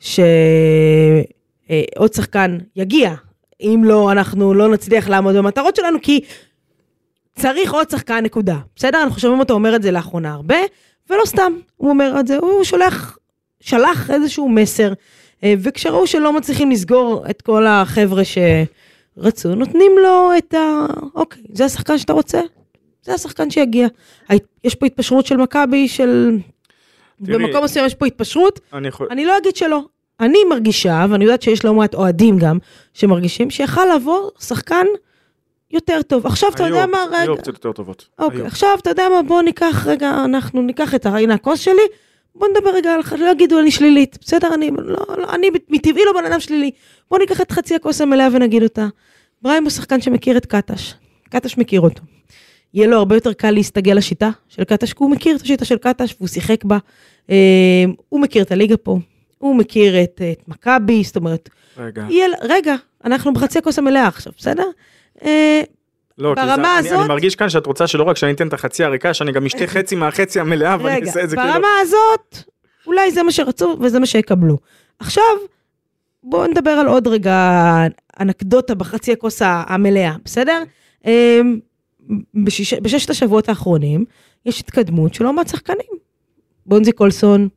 ש... אה, עוד שחקן יגיע. אם לא, אנחנו לא נצליח לעמוד במטרות שלנו, כי צריך עוד שחקן, נקודה. בסדר? אנחנו שומעים אותו אומר את זה לאחרונה הרבה, ולא סתם הוא אומר את זה, הוא שולח, שלח איזשהו מסר, אה, וכשראו שלא מצליחים לסגור את כל החבר'ה שרצו, נותנים לו את ה... אוקיי, זה השחקן שאתה רוצה? זה השחקן שיגיע. ההת- יש פה התפשרות של מכבי, של... תראי- במקום מסוים יש פה התפשרות, אני יכול... אני לא אגיד שלא. אני מרגישה, ואני יודעת שיש לא מעט אוהדים גם, שמרגישים שיכל לבוא שחקן יותר טוב. עכשיו אתה יודע היו- מה, היו רגע, אופציות יותר טובות. אוקיי, היו. עכשיו אתה יודע מה, בוא ניקח רגע, אנחנו ניקח את, ה- הנה הכוס שלי, בוא נדבר רגע על, לא יגידו אני שלילית, בסדר, אני, לא, לא, אני מטבעי לא בן אדם שלילי. בוא ניקח את חצי הכוס המלאה ונגיד אותה. בריים הוא שחקן שמכיר את קטש, קטש מכיר אותו. יהיה לו הרבה יותר קל להסתגל לשיטה של קטש, כי הוא מכיר את השיטה של קטש והוא שיחק בה. אה, הוא מכיר את הליגה פה, הוא מכיר את, את מכבי, זאת אומרת, רגע. יהיה, ל- רגע, אנחנו בחצי הכוס המלאה עכשיו, בסדר? אה, לא, כי זה- ברמה אני- הזאת- אני מרגיש כאן שאת רוצה שלא רק שאני אתן את החצי הריקה, שאני גם אשתה חצי מהחצי המלאה, ואני רגע, אעשה את זה כאילו... ברמה הזאת, אולי זה מה שרצו וזה מה שיקבלו. עכשיו, בואו נדבר על עוד רגע אנקדוטה בחצי הכוס ה- המלאה, בסדר? אמ, בשש, בששת השבועות האחרונים יש התקדמות של לא מעט שחקנים. בונזי קולסון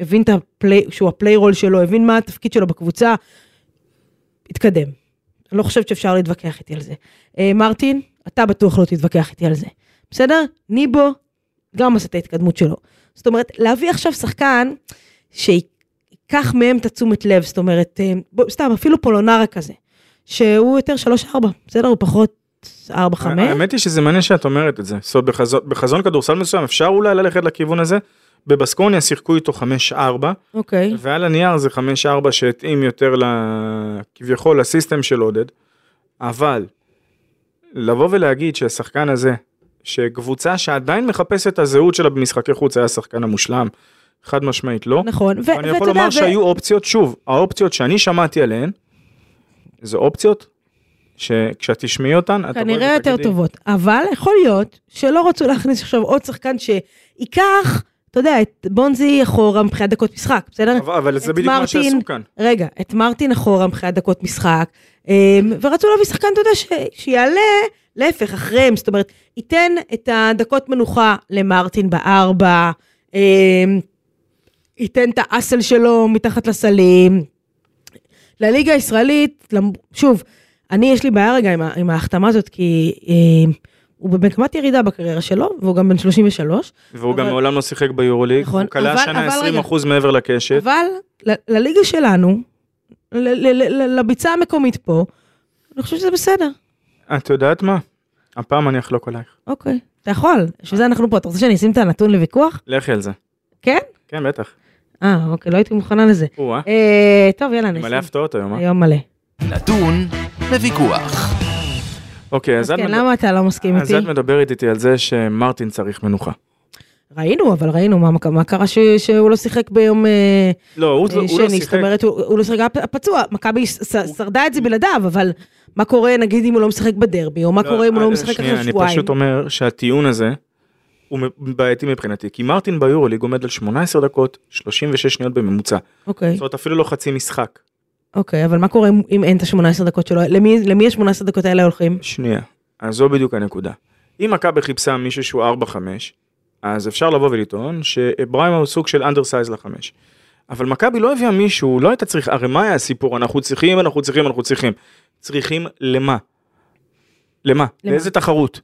הבין את הפלי, שהוא הפליירול שלו, הבין מה התפקיד שלו בקבוצה, התקדם. אני לא חושבת שאפשר להתווכח איתי על זה. אה, מרטין, אתה בטוח לא תתווכח איתי על זה. בסדר? ניבו, גם עשה את ההתקדמות שלו. זאת אומרת, להביא עכשיו שחקן שייקח מהם את התשומת לב, זאת אומרת, אה, בוא, סתם, אפילו פולונרה כזה, שהוא יותר 3-4, בסדר? הוא פחות 4-5. האמת היא שזה מעניין שאת אומרת את זה. זאת אומרת, בחזון- בחזון כדורסל מסוים אפשר אולי ללכת לכיוון הזה. בבסקוניה שיחקו איתו 5-4, אוקיי. ועל הנייר זה 5-4 שהתאים יותר ל- כביכול לסיסטם של עודד, אבל לבוא ולהגיד שהשחקן הזה, שקבוצה שעדיין מחפשת את הזהות שלה במשחקי חוץ היה השחקן המושלם, חד משמעית לא. נכון, ו- ואני יכול לומר ו- שהיו אופציות, שוב, האופציות שאני שמעתי עליהן, זה אופציות שכשאת תשמעי אותן, את כנראה אומרת, יותר תגידי, טובות, אבל יכול להיות שלא רצו להכניס עכשיו עוד שחקן שייקח, אתה יודע, את בונזי אחורה מבחינת דקות משחק, בסדר? אבל, אבל זה את בדיוק מה מרטין. שעשו כאן. רגע, את מרטין אחורה מבחינת דקות משחק, אמ, ורצו להביא שחקן, אתה יודע, ש- שיעלה, להפך, אחריהם, זאת אומרת, ייתן את הדקות מנוחה למרטין בארבע, אמ, ייתן את האסל שלו מתחת לסלים. לליגה הישראלית, למ- שוב, אני יש לי בעיה רגע עם, ה- עם ההחתמה הזאת, כי אמ, הוא במגמת ירידה בקריירה שלו, והוא גם בן 33, והוא גם אבל- מעולם לא שיחק ביורוליג, נכון, הוא כלה אבל- השנה אבל רגע. 20% מעבר לקשת. אבל ל- לליגה שלנו, ל- ל- ל- ל- לביצה המקומית פה, אני חושבת שזה בסדר. את יודעת מה? הפעם אני אחלוק עלייך. אוקיי. אתה יכול, בשביל זה אנחנו פה. אתה רוצה שאני אשים את הנתון לוויכוח? לכי על זה. כן? כן, בטח. אה, אוקיי, לא הייתי מוכנה לזה. או-אה, אה, טוב, יאללה, נשים. מלא הפתעות היום, אה? היום מלא. נתון לוויכוח. אוקיי, אז אז את כן, מד- למה אתה לא מסכים אז איתי? את מדברת איתי על זה שמרטין צריך מנוחה. ראינו, אבל ראינו מה- מה קרה ש- שהוא לא שיחק ביום אה, לא, הוא הוא אה, לא שני, זאת שיחק. אומרת, הוא הוא לא שיחק, היה פ- פצוע. מכבי ש- ש- שרדה את זה בלעדיו, אבל מה קורה, נגיד, אם הוא לא משחק בדרבי, או מה לא, קורה אם הוא לא אה, משחק שנייה, אחרי שבועיים? אני פשוט אומר שהטיעון הזה הוא מ- בעייתי מבחינתי, כי מרטין ביורוליג עומד על 18 דקות 36 שניות בממוצע. אוקיי. זאת אומרת אפילו לא חצי משחק. אוקיי, אבל מה קורה אם- אם אין את ה-18 דקות שלו? למי למי ה-18 דקות האלה הולכים? שנייה, אז זו בדיוק הנקודה. אם מכבי חיפשה מישהו שהוא 4-5, אז אפשר לבוא ולטעון שבריימה הוא סוג של אנדרסייז לחמש. אבל מכבי לא הביאה מישהו, לא הייתה צריכה, הרי מה היה הסיפור? אנחנו צריכים, אנחנו צריכים, אנחנו צריכים. צריכים למה? למה? לאיזה תחרות?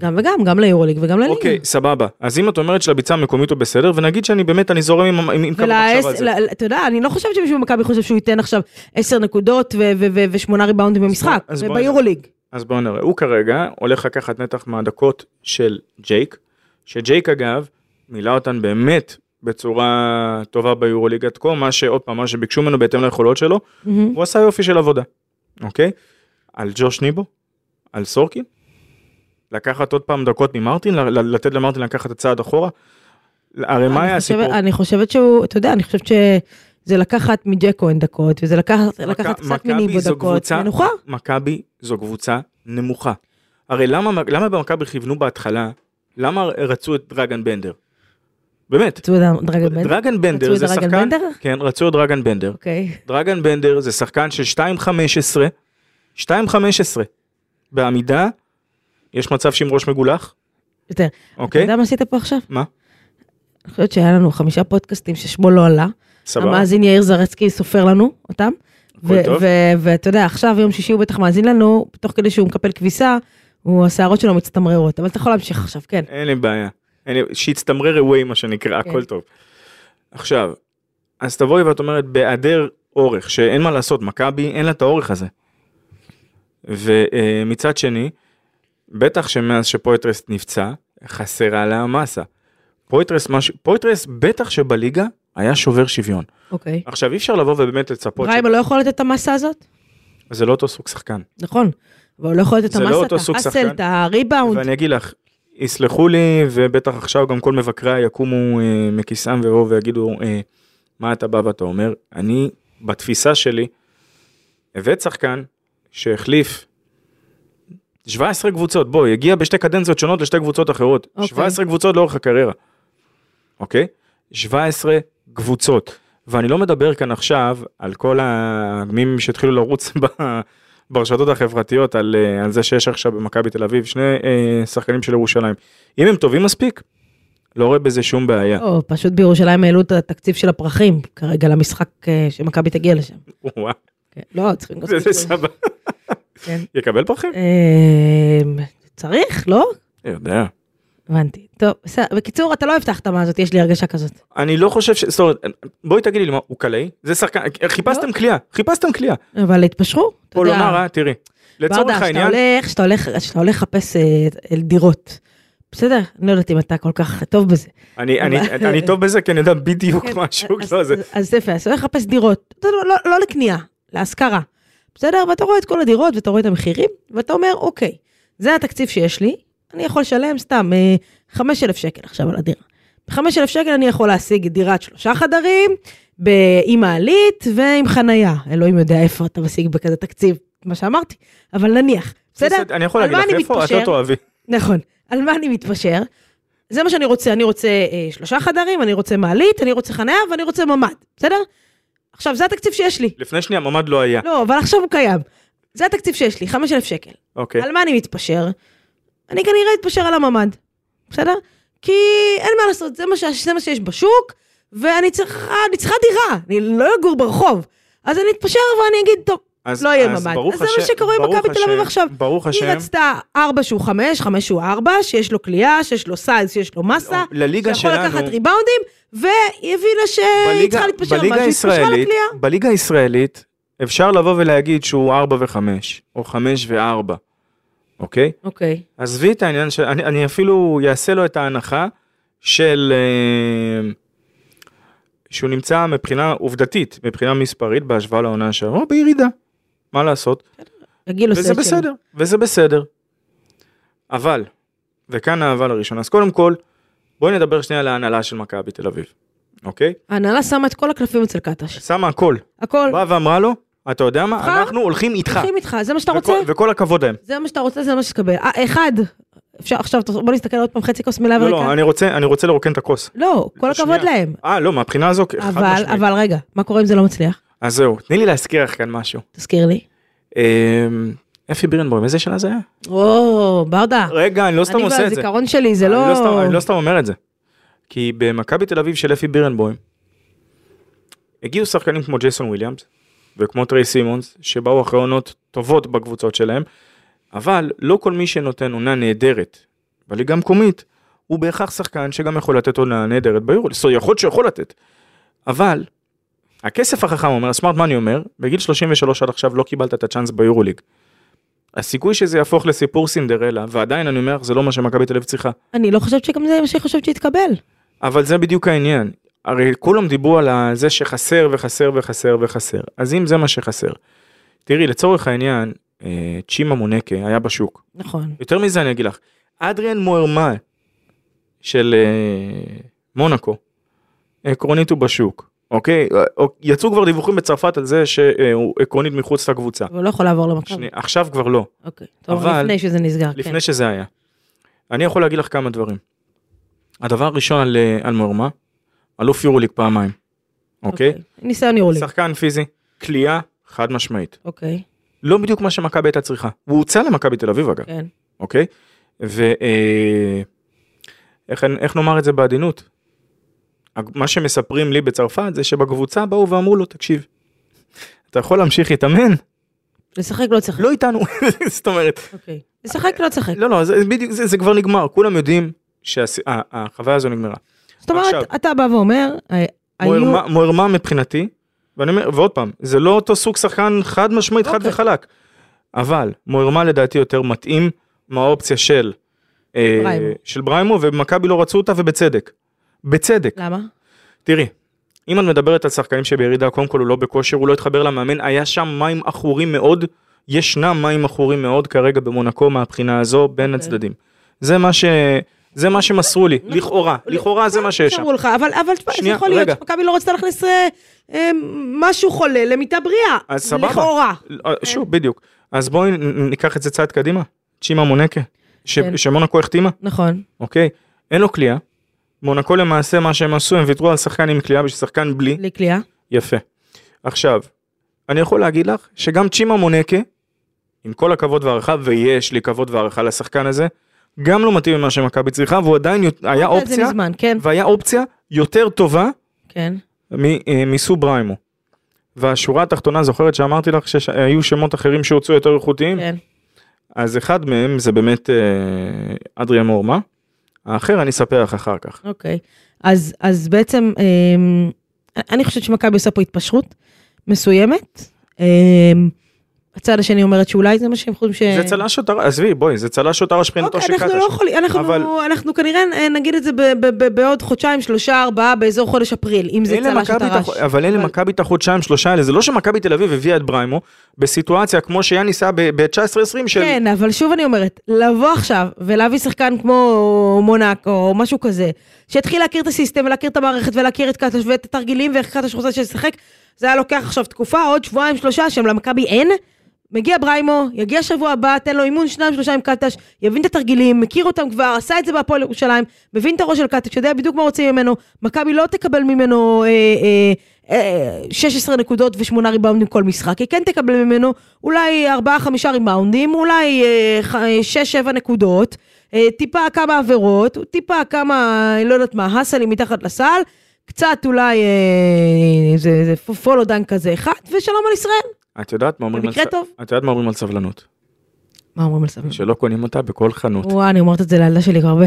גם וגם, גם ליורוליג וגם לליגה. אוקיי, סבבה. אז אם את אומרת שלביצה המקומית הוא בסדר, ונגיד שאני באמת, אני זורם עם- עם עם כמה מחשבה על ולעס- זה. ל- אתה יודע, אני לא חושבת שמישהו במכבי חושב שהוא ייתן עכשיו 10 נקודות ו- ו- ו- ושמונה ריבאונדים במשחק, אז בוא- אז בוא- ביורוליג. אז בואו נראה. הוא כרגע הולך לקחת נתח מהדקות של ג'ייק, שג'ייק אגב, מילא אותן באמת בצורה טובה ביורוליג עד כה, מה שעוד פעם, מה שביקשו ממנו בהתאם ליכולות שלו, מהמם. הוא עשה יופי של עבודה, אוקיי? על ג'וש ניבו? על סורקין? לקחת עוד פעם דקות ממרטין? ל- ל- לתת למרטין לקחת את צעד אחורה? הרי מה אני היה חושבת- הסיפור? אני חושבת שהוא, אתה יודע, אני חושבת שזה לקחת מג'ק כהן דקות, וזה לקחת מק- לקחת קצת מכבי מניבו זו דקות, קבוצה- מנוחה. מכבי זו קבוצה נמוכה. הרי למה, למה במכבי כיוונו בהתחלה, למה רצו את דרגן בנדר? באמת, אתה יודע, דרגה בן? דרגן רצו בנדר את זה דרגן שחקן, בנדר? כן, רצו את דרגן בנדר. אוקיי. דרגן בנדר זה שחקן של 2.15, 2.15 בעמידה, יש מצב שעם ראש מגולח, יותר. אתה אוקיי? יודע מה עשית פה עכשיו? מה? אני חושבת שהיה לנו חמישה פודקאסטים ששמו לא עלה. סבבה. המאזין יאיר זרצקי סופר לנו אותם. הכל ו- טוב. ו- ואתה יודע, עכשיו יום שישי הוא בטח מאזין לנו, תוך כדי שהוא מקפל כביסה, הוא, השערות שלו מצטמררות, אבל אתה יכול להמשיך עכשיו, כן. אין לי בעיה. אין לי- שיצטמרר away מה שנקרא, כן. הכל טוב. עכשיו, אז תבואי ואת אומרת, בהיעדר אורך, שאין מה לעשות, מכבי אין לה את האורך הזה. ומצד שני, בטח שמאז שפויטרס נפצע, חסרה לה המסה. פויטרס, מש... פויטרס בטח שבליגה היה שובר שוויון. אוקיי. עכשיו אי אפשר לבוא ובאמת לצפות, ריימה לא יכול לתת את המסה הזאת? ש... זה לא אותו סוג שחקן. נכון. אבל הוא לא יכול לתת את זה לא המסה, את אותו סוג האסל, שחקן. את הריבאונד. ואני אגיד לך, יסלחו לי, ובטח עכשיו גם כל מבקריה יקומו אה, מכיסם ויבואו ויגידו, אה, מה אתה בא ואתה אומר? אני, בתפיסה שלי, הבאת שחקן שהחליף 17 קבוצות, בואי, הגיע בשתי קדנציות שונות לשתי קבוצות אחרות. אוקיי. 17 קבוצות לאורך הקריירה, אוקיי? 17 קבוצות. ואני לא מדבר כאן עכשיו על כל הגמים שהתחילו לרוץ ב- ברשתות החברתיות על, אה, על זה שיש עכשיו במכבי תל אביב שני אה, שחקנים של ירושלים. אם הם טובים מספיק, לא רואה בזה שום בעיה. או, פשוט בירושלים העלו את התקציב של הפרחים, כרגע למשחק אה, שמכבי תגיע לשם. וואו, כן. לא, צריכים... זה, זה סבבה. כן. יקבל פרחים? אמ, צריך, לא? יודע. הבנתי. טוב, בסדר. בקיצור, אתה לא הבטחת מה זאת, יש לי הרגשה כזאת. אני לא חושב ש... זאת אומרת, בואי תגידי לי מה, הוא קלעי? זה שחקן, אה, חיפשתם קליעה, חיפשתם קליעה. אבל התפשרו, לא. אתה יודע. פולונרה, תראי. לצורך ברדה, העניין, כשאתה הולך, כשאתה הולך לחפש אה, אל דירות, בסדר? אני לא יודעת אם אתה כל כך טוב בזה. אני- אני אני טוב בזה כי אני יודע בדיוק כן, מה השוק, אז- לא זה. אז- אז יפה, אז אתה הולך לחפש דירות, אתה לא- לא- לא לקנייה, להשכרה. בסדר? ואתה רואה את כל הדירות ואתה רואה את המחירים, ואתה אומר, אוקיי, זה התקציב שיש לי, אני יכול לשלם סתם אה, 5,000 שקל עכשיו על הדירה. ב-5,000 שקל אני יכול להשיג דירת שלושה חדרים, ב- עם מעלית ועם חנייה. אלוהים יודע איפה אתה משיג בכזה תקציב, מה שאמרתי, אבל נניח, בסדר? אני יכול על להגיד מה לך אני איפה, את לא מתפשר? תאהבי. נכון. על מה אני מתפשר? זה מה שאני רוצה, אני רוצה אה, שלושה חדרים, אני רוצה מעלית, אני רוצה חניה ואני רוצה ממ"ד, בסדר? עכשיו, זה התקציב שיש לי. לפני שנייה ממ"ד לא היה. לא, אבל עכשיו הוא קיים. זה התקציב שיש לי, 5,000 שקל. אוקיי. על מה אני מתפשר? אני כנראה אתפשר על הממ"ד, בסדר? כי אין מה לעשות, זה מה, ש... זה מה שיש בשוק, ואני צריכה, אני צריכה דירה, אני לא אגור ברחוב. אז אני אתפשר ואני אגיד, טוב, אז- לא יהיה אז ממ"ד. ברוך אז זה מה השם- שקורה עם ברוך מכבי תל אביב השם- עכשיו. ברוך היא השם, רצתה 4 שהוא 5, 5 שהוא 4, שיש לו קליעה, שיש לו סייז, שיש לו מסה, לליגה שיכול לקחת שלנו, ריבאונדים, והיא הבינה שהיא בליגה- צריכה להתפשר על בליגה משהו, היא התפשרה הישראלית, לקליעה. בליגה הישראלית, אפשר לבוא ולהגיד שהוא 4 ו-5, או 5 ו-4, אוקיי? אוקיי. עזבי את העניין של, אני, אני אפילו אעשה לו את ההנחה של אה, שהוא נמצא מבחינה עובדתית, מבחינה מספרית בהשוואה לעונה שעברה, הוא בירידה, מה לעשות, הגיל עושה וזה את שלו. בסדר, וזה בסדר. אבל, וכאן האבל הראשון, אז קודם כל, בואי נדבר שנייה על ההנהלה של מכבי תל אביב, אוקיי? ההנהלה שמה את כל הקלפים אצל קטש. שמה הכל, הכל, באה ואמרה לו, אתה יודע מה, בחר, אנחנו הולכים איתך, הולכים איתך, זה מה שאתה רוצה, וכל, וכל הכבוד להם. זה מה שאתה רוצה, זה מה שתקבל. אה, אחד, אפשר עכשיו, בוא נסתכל עוד פעם חצי כוס מלאה לא, לא, וריקה. אני רוצה, אני רוצה לרוקן את הכוס. לא, כל הכבוד שנייה. להם. אה, לא, מהבחינה הזו, חד אבל, משמעית. אבל רגע, מה קורה אם זה לא מצליח? אז זהו, תני לי להזכיר לך כאן משהו. תזכיר לי. אמ, אפי בירנבוים, איזה שנה זה היה? או, ברדה. רגע, אני לא סתם אני עושה את זה. והזיכרון שלי, זה אני לא... סתם- אני לא סתם אומר את זה. כי במכבי תל אביב של אפי בירנבוים, הגיעו שחקנים כמו ג'ייסון וויליאמס וכמו טריי סימונס, שבאו אחרי עונות טובות בקבוצות שלהם, אבל לא כל מי שנותן עונה נהדרת בליגה המקומית, הוא בהכרח שחקן שגם יכול לתת עונה נהדרת ביורו, זאת אומרת, יכול להיות שיכול לתת. אבל, הכסף החכם אומר, הסמארט מאני אומר, בגיל 33 עד עכשיו לא קיבלת את הצ'אנס ביורוליג. הסיכוי שזה יהפוך לסיפור סינדרלה, ועדיין אני אומר לך, זה לא מה שמכבי תל אביב צריכה. אני לא חושבת שגם זה מה שהיא חושבת שהתקבל. אבל זה בדיוק העניין. הרי כולם דיברו על ה- זה שחסר וחסר וחסר וחסר. אז אם זה מה שחסר. תראי, לצורך העניין, אה, צ'ימה מונקה היה בשוק. נכון. יותר מזה אני אגיד לך, אדריאן מוארמה של אה, מונאקו, עקרונית הוא בשוק. אוקיי? אה, אה, יצאו כבר דיווחים בצרפת על זה שהוא עקרונית מחוץ לקבוצה. אבל הוא לא יכול לעבור למכבי. שני- עכשיו כבר לא. אוקיי. טוב, אה. אבל- לפני שזה נסגר, כן. לפני שזה היה. אני יכול להגיד לך כמה דברים. הדבר הראשון על, אה, על מורמה, אלוף יורוליג פעמיים, אוקיי? ניסיון יורוליג. שחקן פיזי, כליאה, חד משמעית. אוקיי, לא בדיוק מה שמכבי הייתה צריכה. הוא הוצא למכבי תל אביב אגב, כן. אוקיי? ו... אה, איך, איך נאמר את זה בעדינות? הג- מה שמספרים לי בצרפת זה שבקבוצה באו ואמרו לו, תקשיב, אתה יכול להמשיך להתאמן? לשחק לא לשחק. לא איתנו, זאת אומרת, אוקיי. לשחק לא לשחק. לא, לא, זה, בדיוק, זה, זה כבר נגמר, כולם יודעים שהחוויה הזו נגמרה. זאת אומרת, עכשיו. אתה בא ואומר, אה, היו... מוהרמה- מוהרמה מבחינתי, ואני אומר, ועוד פעם, זה לא אותו סוג שחקן חד משמעית, חד אוקיי. וחלק, אבל מוהרמה לדעתי יותר מתאים מהאופציה של אה, בריימו. של בריימו, ומכבי לא רצו אותה, ובצדק. בצדק. למה? תראי, אם את מדברת על שחקנים שבירידה, קודם כל הוא לא בכושר, הוא לא התחבר למאמן, היה שם מים עכורים מאוד, ישנם מים עכורים מאוד כרגע במונקו מהבחינה הזו בין אוקיי. הצדדים. זה מה ש... זה מה שמסרו לי, נכון. לכאורה, לכאורה זה מה שיש שם. שאמרו לך, אבל, אבל תשמע, זה שנייה, יכול להיות רגע. שמכבי לא רצתה להכניס אה, אה, משהו חולה למיטה בריאה. אז סבבה. לכאורה. אה, כן. שוב, בדיוק. אז בואי נ- נ- ניקח את זה צעד קדימה. צ'ימה מונקה, ש- כן. שמונקו החתימה, נכון. אוקיי? אין לו כליאה. מונקו למעשה, מה שהם עשו, הם ויתרו על שחקן עם כליאה בשביל שחקן בלי. בלי קליעה. יפה. עכשיו, אני יכול להגיד לך שגם צ'ימה מונקה, עם כל הכבוד והערכה, ויש לי כבוד והערכה לשחקן הזה, גם לא מתאים למה שמכבי צריכה, והוא עדיין יות- היה אוקיי, זה אופציה, מזמן, כן, והיה אופציה יותר טובה כן. מ- אה, מסו בריימו. והשורה התחתונה, זוכרת שאמרתי לך שהיו שמות אחרים שהוצאו יותר איכותיים? כן. אז אחד מהם זה באמת אה, אדריה מורמה, האחר אני אספר לך אחר כך. אוקיי. אז, אז בעצם, אמ, אני חושבת שמכבי עושה פה התפשרות מסוימת. אמ, הצד השני אומרת שאולי זה מה שהם חושבים ש... זה צלש אותה, עזבי בואי, זה צלש אותה שכינתו אוקיי, של אנחנו קטש. לא יכולים, אנחנו, אבל- אנחנו כנראה אה, נגיד את זה ב, ב, ב, בעוד חודשיים, שלושה, ארבעה, באזור חודש אפריל, אם זה אין צלש את למכבי את הרעש. הח- אבל אין למכבי את החודשיים שלושה האלה, זה לא שמכבי תל אביב הביאה את בריימו בסיטואציה כמו שיאניס היה ב-19-20 של... כן, אבל שוב אני אומרת, לבוא עכשיו ולהביא שחקן כמו מונאק או משהו כזה, שיתחיל להכיר את הסיסטם ולהכיר את המערכת ולהכיר את קטש ואת התרגילים ואיך קטש רוצה שישחק, זה היה לוקח עכשיו תקופה, עוד שבועיים שלושה, שהם למכבי אין. מגיע בריימו, יגיע שבוע הבא, תן לו אימון שניים שלושה עם קטש, יבין את התרגילים, מכיר אותם כבר, עשה את זה בהפועל ירושלים, מבין את הראש של קטש, יודע בדיוק מה רוצים ממנו, מכבי לא תקבל ממנו אה, אה, אה, 16 נקודות ושמונה ריבאונדים כל משחק, היא כן תקבל ממנו אולי 4-5 ריבאונדים, אולי אה, 6-7 נקודות, אה, טיפה כמה עבירות, טיפה כמה, לא יודעת מה, האסלים מתחת לסל, קצת אולי אה, איזה איזה פולודן כזה אחד, ושלום על ישראל. את יודעת מה אומרים על במקרה ס- טוב. את יודעת מה אומרים על סבלנות? מה אומרים על סבלנות? שלא קונים אותה בכל חנות. וואה, אני אומרת את זה לילדה שלי כבר הרבה.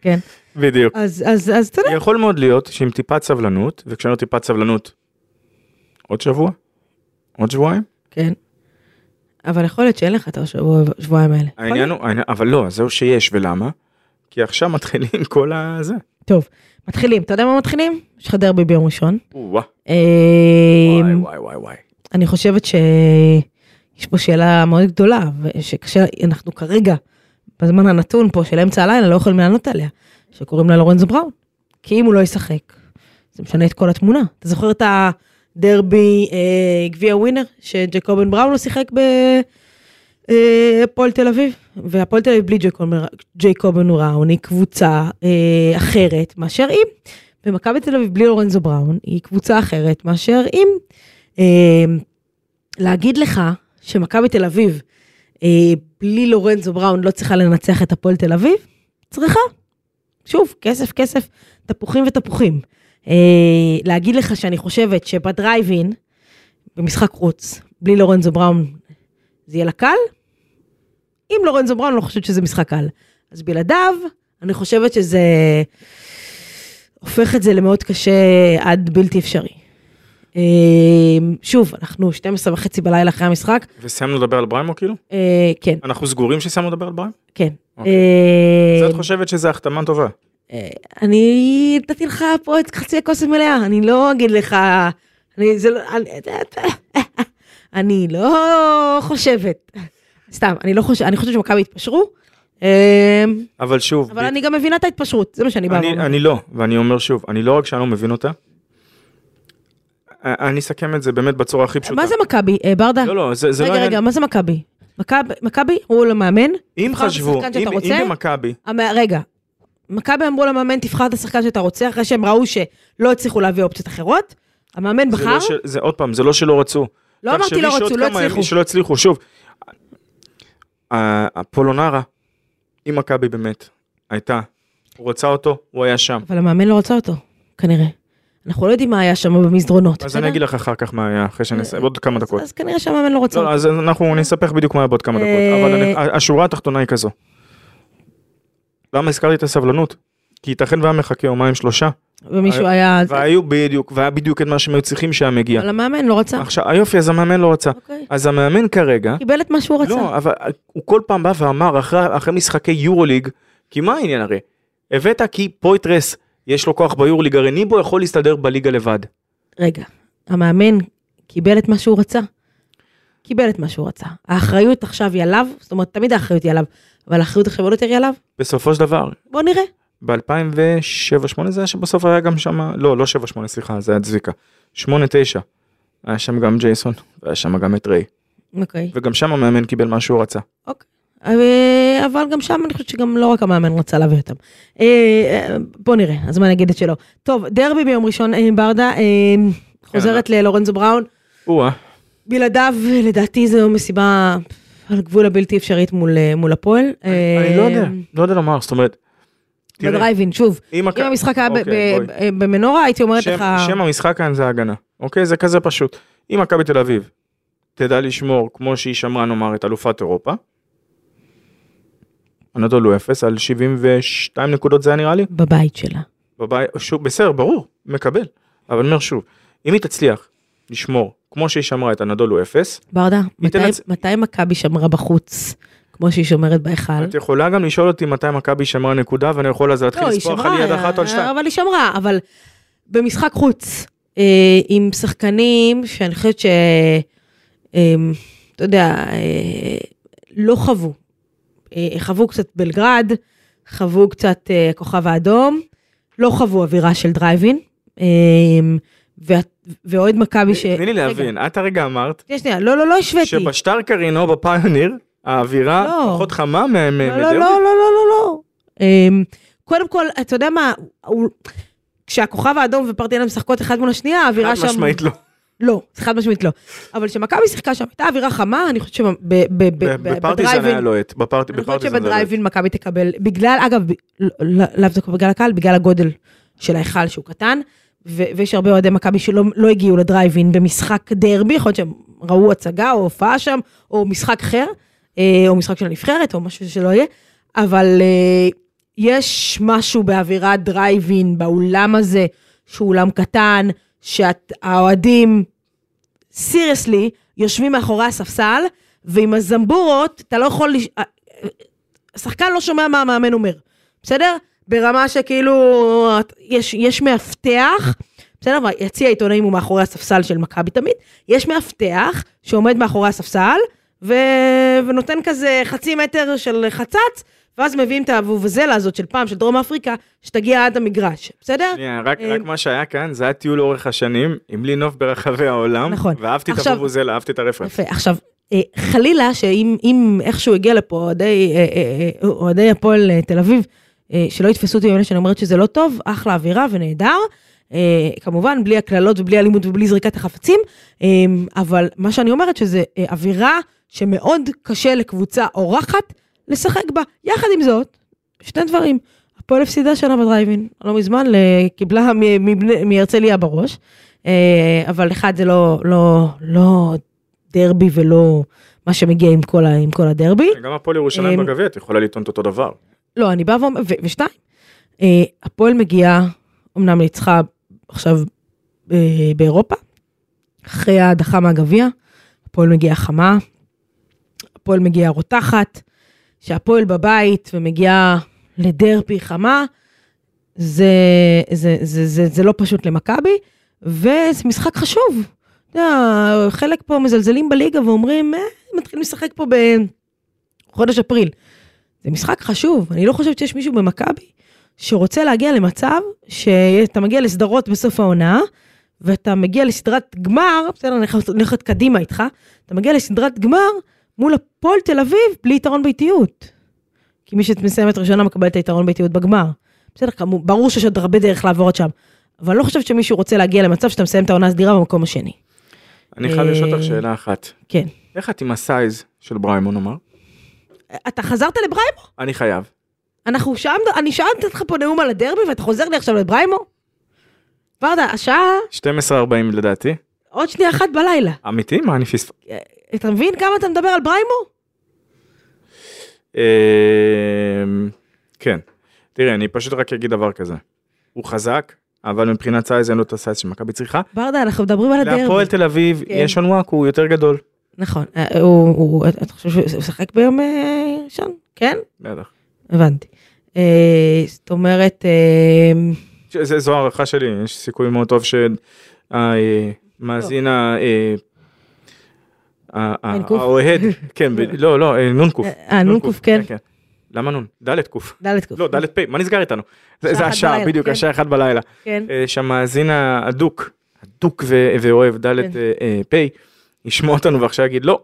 כן. בדיוק. אז, אז, אז, אתה יודע, יכול מאוד להיות שעם טיפת סבלנות, וכשאני אומר טיפת סבלנות, עוד שבוע? עוד שבועיים? כן. אבל יכול להיות שאין לך את השבועיים האלה. העניין הוא, העניין- אבל לא, זהו שיש, ולמה? כי עכשיו מתחילים כל הזה. טוב, מתחילים. אתה יודע מה מתחילים? יש לך דרבי ביום ראשון. וואי אה, וואי, וואי וואי וואי. אני חושבת ש... יש פה שאלה מאוד גדולה, שקשה, אנחנו כרגע, בזמן הנתון פה של אמצע הלילה, לא יכולים לענות עליה, שקוראים לה לורנזו בראון. כי אם הוא לא ישחק, זה משנה את כל התמונה. אתה זוכר את הדרבי אה, גביע ווינר, שג'קובן בראון לא שיחק בהפועל תל אביב? והפועל תל אביב בלי ג'קובן- ג'קובן בראון היא קבוצה אה, אחרת מאשר אם. ומכבי תל אביב בלי לורנזו בראון היא קבוצה אחרת מאשר אם. אה, להגיד לך שמכבי תל אביב, אה, בלי לורנזו בראון לא צריכה לנצח את הפועל תל אביב? צריכה. שוב, כסף, כסף, תפוחים ותפוחים. אה, להגיד לך שאני חושבת שבדרייבין, במשחק חוץ, בלי לורנזו בראון, זה יהיה לה קל? אם לורנזו בראון לא חושבת שזה משחק קל. אז בלעדיו, אני חושבת שזה הופך את זה למאוד קשה עד בלתי אפשרי. אה, שוב, אנחנו 12 וחצי בלילה אחרי המשחק. וסיימנו לדבר על בריימו כאילו? אה, כן, אנחנו סגורים שסיימנו לדבר על בריימו? כן. אוקיי. אה, אז את חושבת שזה החתמה טובה. אה, אני נתתי לך פה את חצי הכוס המלאה, אני לא אגיד לך, אני, זה לא, אני, אה, אני לא חושבת, סתם, אני לא חושבת, אני חושבת שמכבי התפשרו, אה, אבל שוב, אבל אני גם מבינה את ההתפשרות, זה מה שאני באה אני, ואומרת. אני לא, ואני אומר שוב, אני לא רק שאני לא מבין אותה, אני אסכם את זה באמת בצורה הכי פשוטה. מה זה מכבי, אה, ברדה? לא, לא, זה, זה לא רגע, העניין. רגע, מה זה מכבי? מכב- מכבי הוא לא למאמן, אם תבחר את חשבו, השחקן אם, שאתה אם רוצה. במכבי, המ- רגע, מכבי אמרו למאמן תבחר את השחקן שאתה רוצה, אחרי שהם ראו שלא הצליחו להביא אופציות אחרות, המאמן זה, בחר, לא של- זה עוד פעם, זה לא שלא רצו. לא אמרתי תחשבי לא שעוד רצו, לא כמה ימים הצליחו. שלא הצליחו, שוב. ה- הפולונרה, אם מכבי באמת הייתה, רוצה אותו, הוא היה שם. אבל המאמן לא רצה אותו, כנראה. אנחנו לא יודעים מה היה שם במסדרונות. אז בסדר? אה, אני אגיד לך אחר כך מה היה, אחרי שאני אסיים, עוד כמה אז- דקות. אז כנראה שהמאמן לא רצה לא, אותו. אז אנחנו נספח בדיוק מה היה בעוד כמה דקות, אה, אבל אני- ה- השורה התחתונה היא כזו. למה הזכרתי את הסבלנות? כי ייתכן והיה מחכה יומיים שלושה, ומישהו היה... והיו בדיוק, והיה בדיוק את מה שהם היו צריכים שהיה מגיע. אבל המאמן לא רצה. עכשיו, היופי, אז המאמן לא רצה. אוקיי. אז המאמן כרגע, קיבל את מה שהוא רצה. לא, אבל הוא כל פעם בא ואמר אחרי, אחרי משחקי יורוליג, כי מה העניין הרי? הבאת כי פויטרס, יש לו כוח ביורוליג, הרי ניבו יכול להסתדר בליגה לבד. רגע, המאמן קיבל את מה שהוא רצה? קיבל את מה שהוא רצה. האחריות עכשיו היא עליו, זאת אומרת, תמיד האחריות היא עליו, אבל האחריות עכשיו עוד יותר היא עליו? בסופו של דבר, בוא נראה. ב-2007-2008 זה היה שבסוף היה גם שם, לא, לא 7-8, סליחה, זה היה צביקה. 8-9. היה שם גם ג'ייסון, והיה שם גם את ריי. אוקיי. וגם שם המאמן קיבל מה שהוא רצה. אבל- אה, אבל גם שם אני חושבת שגם לא רק המאמן רצה להביא אותם. אה, אה, בוא נראה, הזמן יגיד את שלו. טוב, דרבי ביום ראשון, אה, ברדה, אה, כן. חוזרת ללורנזו בראון. או-אה. בלעדיו, לדעתי, זו מסיבה על גבול הבלתי אפשרית מול, אה, מול הפועל. אני לא יודע, לא יודע לומר, זאת אומרת, תראי, בדרייבין, שוב, אם הכ- אמ. אם המשחק היה ב- אוקיי, ב- בואי. ב- במנורה, הייתי אומרת שם- לך... שם המשחק כאן זה הגנה, אוקיי? זה כזה פשוט. אם מכבי תל אביב תדע לשמור, כמו שהיא שמרה נאמר, את אלופת אירופה, הנדולו לא אפס על 72 נקודות זה היה נראה לי, בבית שלה. בבית, שוב, בסדר, ברור, מקבל. אבל אני אומר שוב, אם היא תצליח לשמור, כמו שהיא שמרה את הנדולו אפס, ברדה, מתי- תנצ- מתי מכבי שמרה בחוץ, כמו שהיא שומרת בהיכל? את יכולה גם לשאול אותי מתי מכבי שמרה נקודה, ואני יכול אז להתחיל לא, היא לספור לך על יד שמרה, אה, אחת או על שתיים. אבל היא שמרה, אבל במשחק חוץ, אה, עם שחקנים שאני חושבת ש... אה, אתה יודע, אה, לא חוו. אה, חוו קצת בלגרד, חוו קצת אה, כוכב האדום, לא חוו אווירה של דרייבין, אה, וה- ואוהד מכבי אוקיי, ש... תני לי רגע, להבין, את הרגע אמרת שנייה, שנייה, לא, לא, לא השוויתי. שבשטר קרינו בפיוניר, האווירה לא. פחות חמה מה- לא, מה- לא, לא, מדירוג. לא, לא, לא, לא. אמ, קודם כל, אתה יודע מה, הוא- כשהכוכב האדום ופרטינה משחקות אחת מול השנייה, האווירה חד שם... משמעית לא. לא, חד משמעית לא. אבל כשמכבי שיחקה שם, הייתה אווירה חמה, אני חושבת בפרטיזן שבדרייבין... היה לא. לוהט, בפרט- אני חושבת בפרטיזן זה לוהט. שבדרייבין מכבי תקבל, בגלל, אגב, ב- לא- לא- לאו דווקא בגלל הקהל, בגלל הגודל של ההיכל שהוא קטן, ו- ויש הרבה אוהדי מכבי שלא לא הגיעו לדרייבין במשחק דרבי, יכול להיות שהם ראו הצגה או הופעה שם, או משחק אחר, אה, או משחק של הנבחרת, או משהו שלא יהיה, אבל אה, יש משהו באווירת דרייבין, באולם הזה, שהוא אולם קטן, שהאוהדים סיריוסלי, יושבים מאחורי הספסל, ועם הזמבורות, אתה לא יכול... לש... השחקן לא שומע מה המאמן אומר, בסדר? ברמה שכאילו, יש, יש מאבטח, בסדר? יציע העיתונאים הוא מאחורי הספסל של מכבי תמיד, יש מאבטח שעומד מאחורי הספסל, ו... ונותן כזה חצי מטר של חצץ, ואז מביאים את הבובזלה הזאת של פעם, של דרום אפריקה, שתגיע עד המגרש, בסדר? שנייה, רק אה, רק מה שהיה כאן, זה היה טיול לאורך השנים, עם לי נוף ברחבי העולם, נכון. ואהבתי את עכשיו- הבובוזלה, אהבתי את הרפרנס. יפה, עכשיו, אה, חלילה שאם אם איכשהו הגיע לפה אוהדי אה, אה, אה, אוהדי הפועל אה, תל אביב, אה, שלא יתפסו אותי במילה שאני אומרת שזה לא טוב, אחלה אווירה ונהדר. אה, כמובן, בלי הקללות ובלי אלימות ובלי זריקת החפצים, אה, אבל מה שאני אומרת שזה אה, אווירה שמאוד קשה לקבוצה אורחת לשחק בה. יחד עם זאת, שני דברים, הפועל הפסידה שנה בדרייבין, לא מזמן, ל- קיבלה מ- מבני- מהרצליה בראש, אה, אבל אחד זה לא, לא, לא דרבי ולא מה שמגיע עם כל, ה- עם כל הדרבי. כן, גם הפועל ירושלים אה, בגביע, את יכולה לטעון את אותו דבר. לא, אני באה ואומרת, ושתיים, אה, הפועל מגיעה, אמנם ניצחה עכשיו אה, באירופה, אחרי ההדחה מהגביע, הפועל מגיעה חמה, הפועל מגיעה רותחת, שהפועל בבית ומגיעה לדרבי חמה, זה, זה, זה, זה, זה לא פשוט למכבי, וזה משחק חשוב. אתה יודע, חלק פה מזלזלים בליגה ואומרים, אה, מתחילים לשחק פה בחודש אפריל. זה משחק חשוב, אני לא חושבת שיש מישהו במכבי שרוצה להגיע למצב שאתה מגיע לסדרות בסוף העונה, ואתה מגיע לסדרת גמר, בסדר, אני הולכת- אני הולכת קדימה איתך, אתה מגיע לסדרת גמר מול הפועל תל אביב בלי יתרון ביתיות. כי מי שמסיימת ראשונה מקבל את היתרון ביתיות בגמר. בסדר, כמו, ברור שיש עוד הרבה דרך לעבור עד שם, אבל אני לא חושבת שמישהו רוצה להגיע למצב שאתה מסיים את העונה הסדירה במקום השני. אני חייב לשאול אותך אה, שאלה אחת. כן. איך את עם הסייז של בריימון אמר? אתה חזרת לבריימו? אני חייב. אנחנו שם, אני שאלתי אותך פה נאום על הדרבי ואתה חוזר לי עכשיו לבריימו? ורדה, השעה 12.40 לדעתי. עוד שנייה אחת בלילה. אמיתי? מה אני פספ... אתה מבין כמה אתה מדבר על בריימו? אמ, כן. תראי, אני פשוט רק אגיד דבר כזה. הוא חזק, אבל מבחינת סייז אין לו את הסייז שמכבי צריכה. ברדה, אנחנו מדברים על הדרבי. להפועל תל אביב כן. יש אנוואק, הוא יותר גדול. נכון, אה, הוא, הוא, אתה חושב שהוא משחק ביום אה, ראשון? כן? בטח. הבנתי. אה, זאת אומרת, אה, ש- זה- זו הערכה שלי, יש סיכוי מאוד טוב שהמאזין ה... אה, ה- ה- לא. אין קוף? האוהד, כן, ב- לא, לא, אה, נון קוף. אה, נון קוף, כן. למה נון? דלת קוף. ד' קוף. לא, דלת פ', מה נסגר איתנו? זה שעה זה אחת השעה, בלילה, בדיוק, כן. השעה אחת בלילה. כן. אה, שהמאזין האדוק, אדוק ו- ואוהב ד' כן. אה, אה, פ', ישמע אותנו ועכשיו יגיד לא,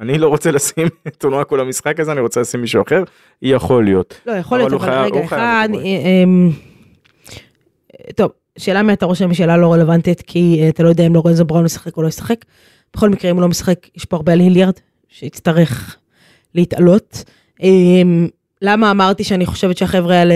אני לא רוצה לשים את אונואה כל המשחק הזה, אני רוצה לשים מישהו אחר, יכול להיות. לא, יכול אבל להיות, הוא אבל חייב- רגע הוא חייב אחד. לקבל. אה, אמ, טוב, שאלה מי אתה רושם היא שאלה לא רלוונטית, כי אה, אתה לא יודע אם לורנזו בראון ישחק או לא ישחק. בכל מקרה, אם הוא לא משחק, יש פה הרבה על היליארד, שיצטרך להתעלות. אמ, למה אמרתי שאני חושבת שהחבר'ה האלה...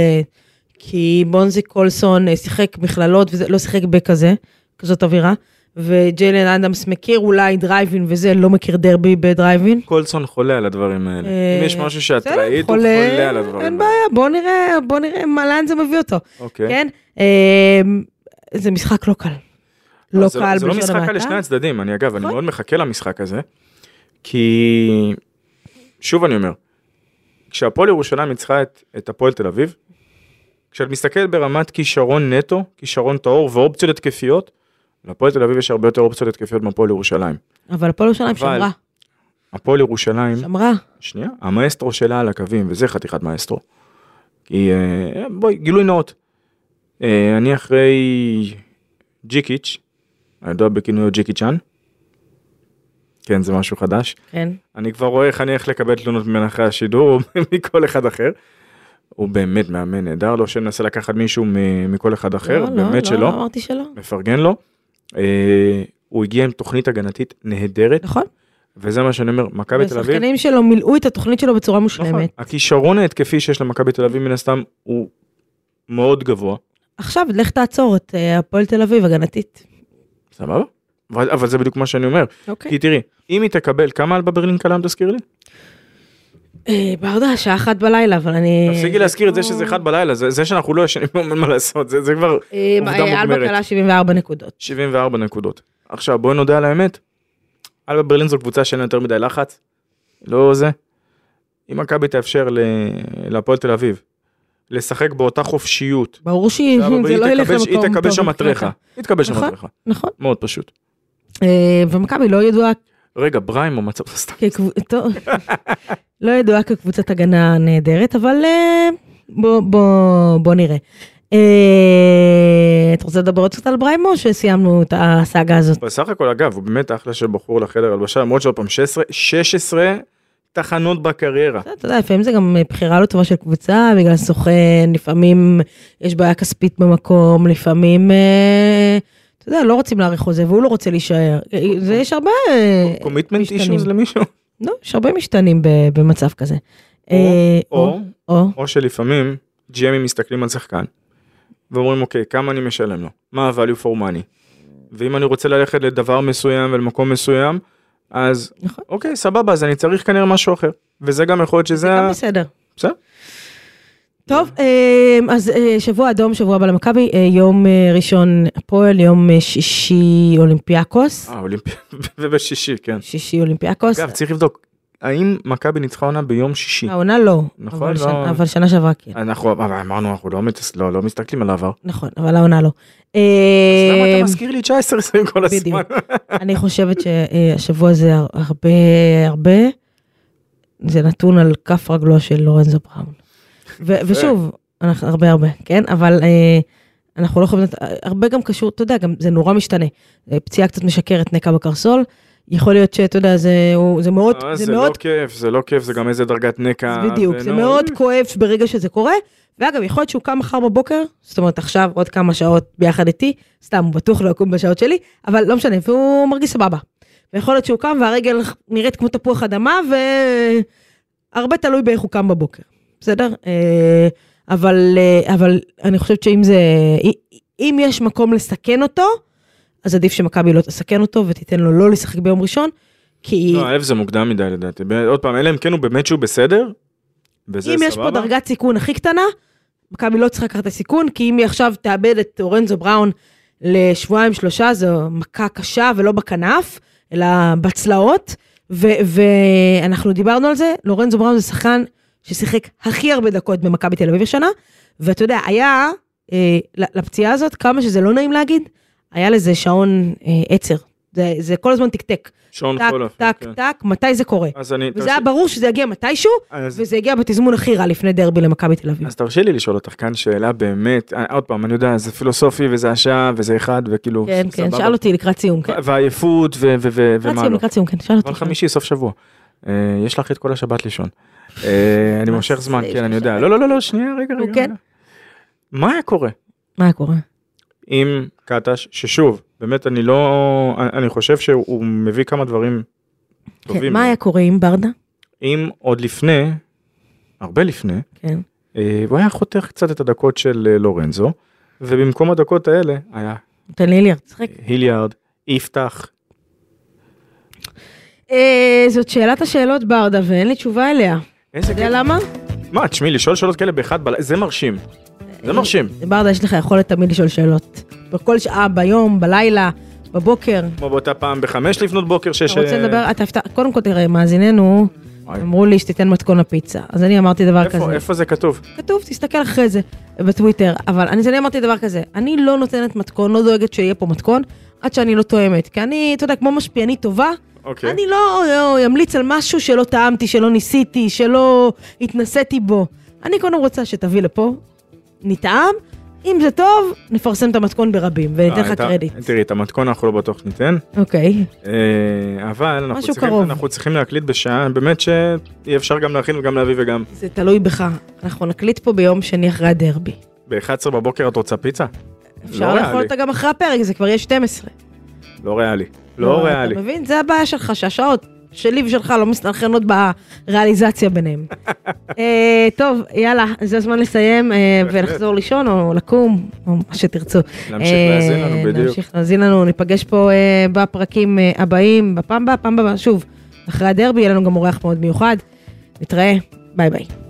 כי בונזי קולסון אה, שיחק מכללות, ולא שיחק בכזה, כזאת אווירה. וג'יילן אדמס מכיר אולי דרייבין וזה, לא מכיר דרבי בדרייבין. קולסון חולה על הדברים האלה. אה, אם יש משהו שאת בסדר, ראית, הוא חולה, חולה על הדברים האלה. אין בעיה, בוא נראה, בוא נראה מה, לאן זה מביא אותו, אוקיי. כן? אמ, זה משחק לא קל. לא אז אה, זה קל זה לא בלשון משחק על המעטה. שני הצדדים, אני אגב, אני נכון. מאוד מחכה למשחק הזה, כי שוב אני אומר, כשהפועל ירושלים ניצחה את, את הפועל תל אביב, כשאת מסתכלת ברמת כישרון נטו, כישרון טהור ואופציות התקפיות, להפועל תל אביב יש הרבה יותר אופציות התקפיות מהפועל ירושלים. אבל הפועל ירושלים אבל- שמרה, הפועל ירושלים, שמרה. שנייה, המאסטרו שלה על הקווים, וזה חתיכת מאסטרו. כי אה, בואי, גילוי נאות. אה, אני אחרי ג'יקיץ', הידוע בכינויו ג'יקיצ'אן. כן, זה משהו חדש. כן. אני כבר רואה איך אני הולך לקבל תלונות ממנה אחרי השידור, או מכל אחד אחר. הוא באמת מאמן נהדר, לא שמנסה לקחת מישהו מ- מכל אחד אחר, לא, לא, באמת לא, שלא, לא אמרתי שלא. מפרגן לו. אה, הוא הגיע עם תוכנית הגנתית נהדרת, נכון. וזה מה שאני אומר, מכבי תל אביב, השחקנים שלו מילאו את התוכנית שלו בצורה נכון. מושלמת. הכישרון ההתקפי שיש למכבי תל אביב מן הסתם הוא מאוד גבוה. עכשיו, לך תעצור את אה, הפועל תל אביב הגנתית. סבבה? אבל, אבל זה בדיוק מה שאני אומר. אוקיי. כי תראי, אם היא תקבל, כמה אלבה ברלין קלם תזכיר לי? אה, ברדה, שעה אחת בלילה, אבל אני... תפסיקי להזכיר לא. את זה שזה אחד בלילה, זה, זה שאנחנו לא ישנים אין מה לעשות, זה, זה כבר אה, עובדה אה, אלבה מוגמרת. כלה 74 נקודות. 74 נקודות. עכשיו בואי נודה על האמת, אלבה ברלין זו קבוצה שאין לה יותר מדי לחץ, לא זה. אם מכבי תאפשר ל- להפועל תל אביב לשחק באותה חופשיות, ברור שהיא- זה היא לא ילך תקבל- למקום היא טוב. תקבל שם מבחינתה. מטרחה, היא תקבל שם נכון. מטרחה, נכון. מאוד פשוט. אה, ומכבי לא ידועה רגע, בריים או מצב סתם. כקב- טוב. לא ידועה כקבוצת הגנה נהדרת, אבל אה, בוא, בוא, בוא נראה. אה, את רוצה לדבר עוד קצת על בריימו, או שסיימנו את הסאגה הזאת? בסך הכל אגב הוא באמת אחלה של בחור לחדר הלבשה למרות שעוד פעם 16 16 תחנות בקריירה. אתה יודע, לפעמים זה גם בחירה לא טובה של קבוצה, בגלל סוכן, לפעמים יש בעיה כספית במקום, לפעמים, אה, אתה יודע, לא רוצים להאריך חוזה, והוא לא רוצה להישאר. אה, זה יש הרבה אה, קומיטמנט משתנים. אישוז למישהו. לא, יש הרבה משתנים ב- במצב כזה. אה, או או, או שלפעמים GMים מסתכלים על שחקן ואומרים אוקיי כמה אני משלם לו מה ה-value for money. ואם אני רוצה ללכת לדבר מסוים ולמקום מסוים אז נכון. אוקיי סבבה אז אני צריך כנראה משהו אחר וזה גם יכול להיות שזה גם ה- בסדר. בסדר. טוב, אמ, אז אה, שבוע אדום, שבוע הבא למכבי, אה, יום אה, ראשון הפועל, יום אה, שישי אולימפיאקוס. אה, אולימפי... ובשישי, כן. שישי אולימפיאקוס. אגב, צריך לבדוק, האם מכבי ניצחה עונה ביום שישי? העונה לא. נכון, אבל לא. שנה- אבל שנה שעברה כן. אנחנו אבל אמרנו, אנחנו לא מת- לא לא מסתכלים על העבר. נכון, אבל העונה לא. אז למה אמ, אתה מזכיר לי 19 20 כל הזמן? בדיוק. אני חושבת שהשבוע זה הר- הרבה, הרבה, זה נתון על כף רגלו של לורנזו בראון. ו- ושוב, אנחנו, הרבה הרבה, כן? אבל אה, אנחנו לא יכולים, לדעת- הרבה גם קשור, אתה יודע, גם זה נורא משתנה. אה, פציעה קצת משקרת, נקע בקרסול, יכול להיות שאתה יודע, זה, הוא- זה מאוד, אה, זה זה מאוד לא כיף, זה לא כיף, זה גם איזה דרגת נקע. לא, אז בדיוק, זה ונו, מאוד כואב ברגע שזה קורה. ואגב, יכול להיות שהוא קם מחר בבוקר, זאת אומרת עכשיו עוד כמה שעות ביחד איתי, סתם, הוא בטוח לא יקום בשעות שלי, אבל לא משנה, והוא מרגיש סבבה. ויכול להיות שהוא קם והרגל נראית כמו תפוח אדמה, והרבה תלוי באיך הוא קם בבוקר, בסדר? אה, אבל, אה, אבל אני חושבת שאם זה, אם יש מקום לסכן אותו, אז עדיף שמכבי לא תסכן אותו ותיתן לו לא לשחק ביום ראשון, כי... לא, אלף זה מוקדם מדי לדעתי. ב- עוד פעם, אלא אם כן הוא באמת שהוא בסדר, וזה אם סבבה. יש פה דרגת סיכון הכי קטנה, מכבי לא צריכה לקחת את הסיכון, כי אם היא עכשיו תאבד את אורנזו בראון לשבועיים שלושה, זו מכה קשה ולא בכנף, אלא בצלעות, ו- ואנחנו דיברנו על זה, לורנזו בראון זה שחקן ששיחק הכי הרבה דקות במכבי תל אביב השנה, ואתה יודע, היה אה, ל- לפציעה הזאת, כמה שזה לא נעים להגיד, היה לזה שעון אה, עצר. זה, זה כל הזמן תקתק, שעון טק, חולף. טק, כן. טק, מתי זה קורה. אז אני... וזה היה ברור שזה יגיע מתישהו, אז- וזה הגיע בתזמון הכי רע לפני דרבי למכבי תל אביב. אז תרשי לי לשאול אותך כאן שאלה באמת, אה, עוד פעם, אני יודע, זה פילוסופי וזה השעה וזה אחד וכאילו, כן, כן, סבבה. שאל אותי לקראת סיום, כן. ו- ועייפות ו- ו- ו- לקראת ומה סיום, לא. לקראת סיום, כן, שאל אותי. אבל חמישי, סוף שבוע. אה, יש לך את כל השבת לישון. אה, אני מה מושך זה זמן, יש כן, אני לי יודע. שבת? לא, לא, לא, לא, שנייה, רגע, נו, רגע. כן. רגע. מה היה קורה מה היה קורה? עם קטש, ששוב, באמת, אני לא... אני- אני חושב שהוא מביא כמה דברים כן, טובים. מה היה קורה עם ברדה? אם עוד לפני, הרבה לפני, כן. אה, הוא היה חותך קצת את הדקות של אה, לורנזו, ובמקום הדקות האלה היה נותן לי ליליארד, צחק. היליארד, יפתח. אה, זאת שאלת השאלות ברדה, ואין לי תשובה אליה. אתה איזה יודע קטע. למה? מה, תשמעי, לשאול שאלות כאלה באחד בלילה, זה מרשים. אה, זה מרשים. ברדה, יש לך יכולת תמיד לשאול שאלות. בכל שעה, ביום, בלילה, בבוקר. כמו באותה פעם בחמש לפנות בוקר, שש... אתה רוצה אה, לדבר? אתה הפתעת, קודם כל תראה, מאזיננו אוי. אמרו לי שתיתן מתכון לפיצה. אז אני אמרתי דבר איפה- לא כזה. איפה זה כתוב? כתוב, תסתכל אחרי זה בטוויטר. אבל אני, אז אני אמרתי דבר כזה, אני לא נותנת מתכון, לא דואגת שיהיה פה מתכון, עד שאני לא תואמת. כי אני, אתה יודע, כמו משפיענית טובה, אוקיי. אני לא לא אמליץ על משהו שלא טעמתי, שלא ניסיתי, שלא התנסיתי בו. אני קודם רוצה שתביא לפה, נטעם, אם זה טוב, נפרסם את המתכון ברבים, וניתן אה, לך את ה- קרדיט. תראי, את המתכון אנחנו לא בטוח ניתן, אוקיי. אה, אבל אנחנו משהו צריכים- קרוב. אנחנו צריכים להקליט בשעה, באמת שיהיה אפשר גם להכין וגם להביא וגם. זה תלוי בך, אנחנו נקליט פה ביום שני אחרי הדרבי. ב-11 בבוקר את רוצה פיצה? אפשר לא ריאלי. לאכול אותה גם אחרי הפרק, זה כבר יהיה 12. לא ריאלי. לא ריאלי. אתה מבין? זה הבעיה שלך, שהשעות שלי ושלך לא מסתנכרנות בריאליזציה ביניהם. אה, טוב, יאללה, זה הזמן לסיים אה, בהחלט. ולחזור לישון או לקום, או מה שתרצו. להמשיך אה, להאזין לנו, בדיוק. להמשיך להאזין לנו, ניפגש פה אה, בפרקים אה, הבאים, בפעם הבאה, פעם הבאה, שוב, אחרי הדרבי, יהיה לנו גם אורח מאוד מיוחד. נתראה, ביי ביי.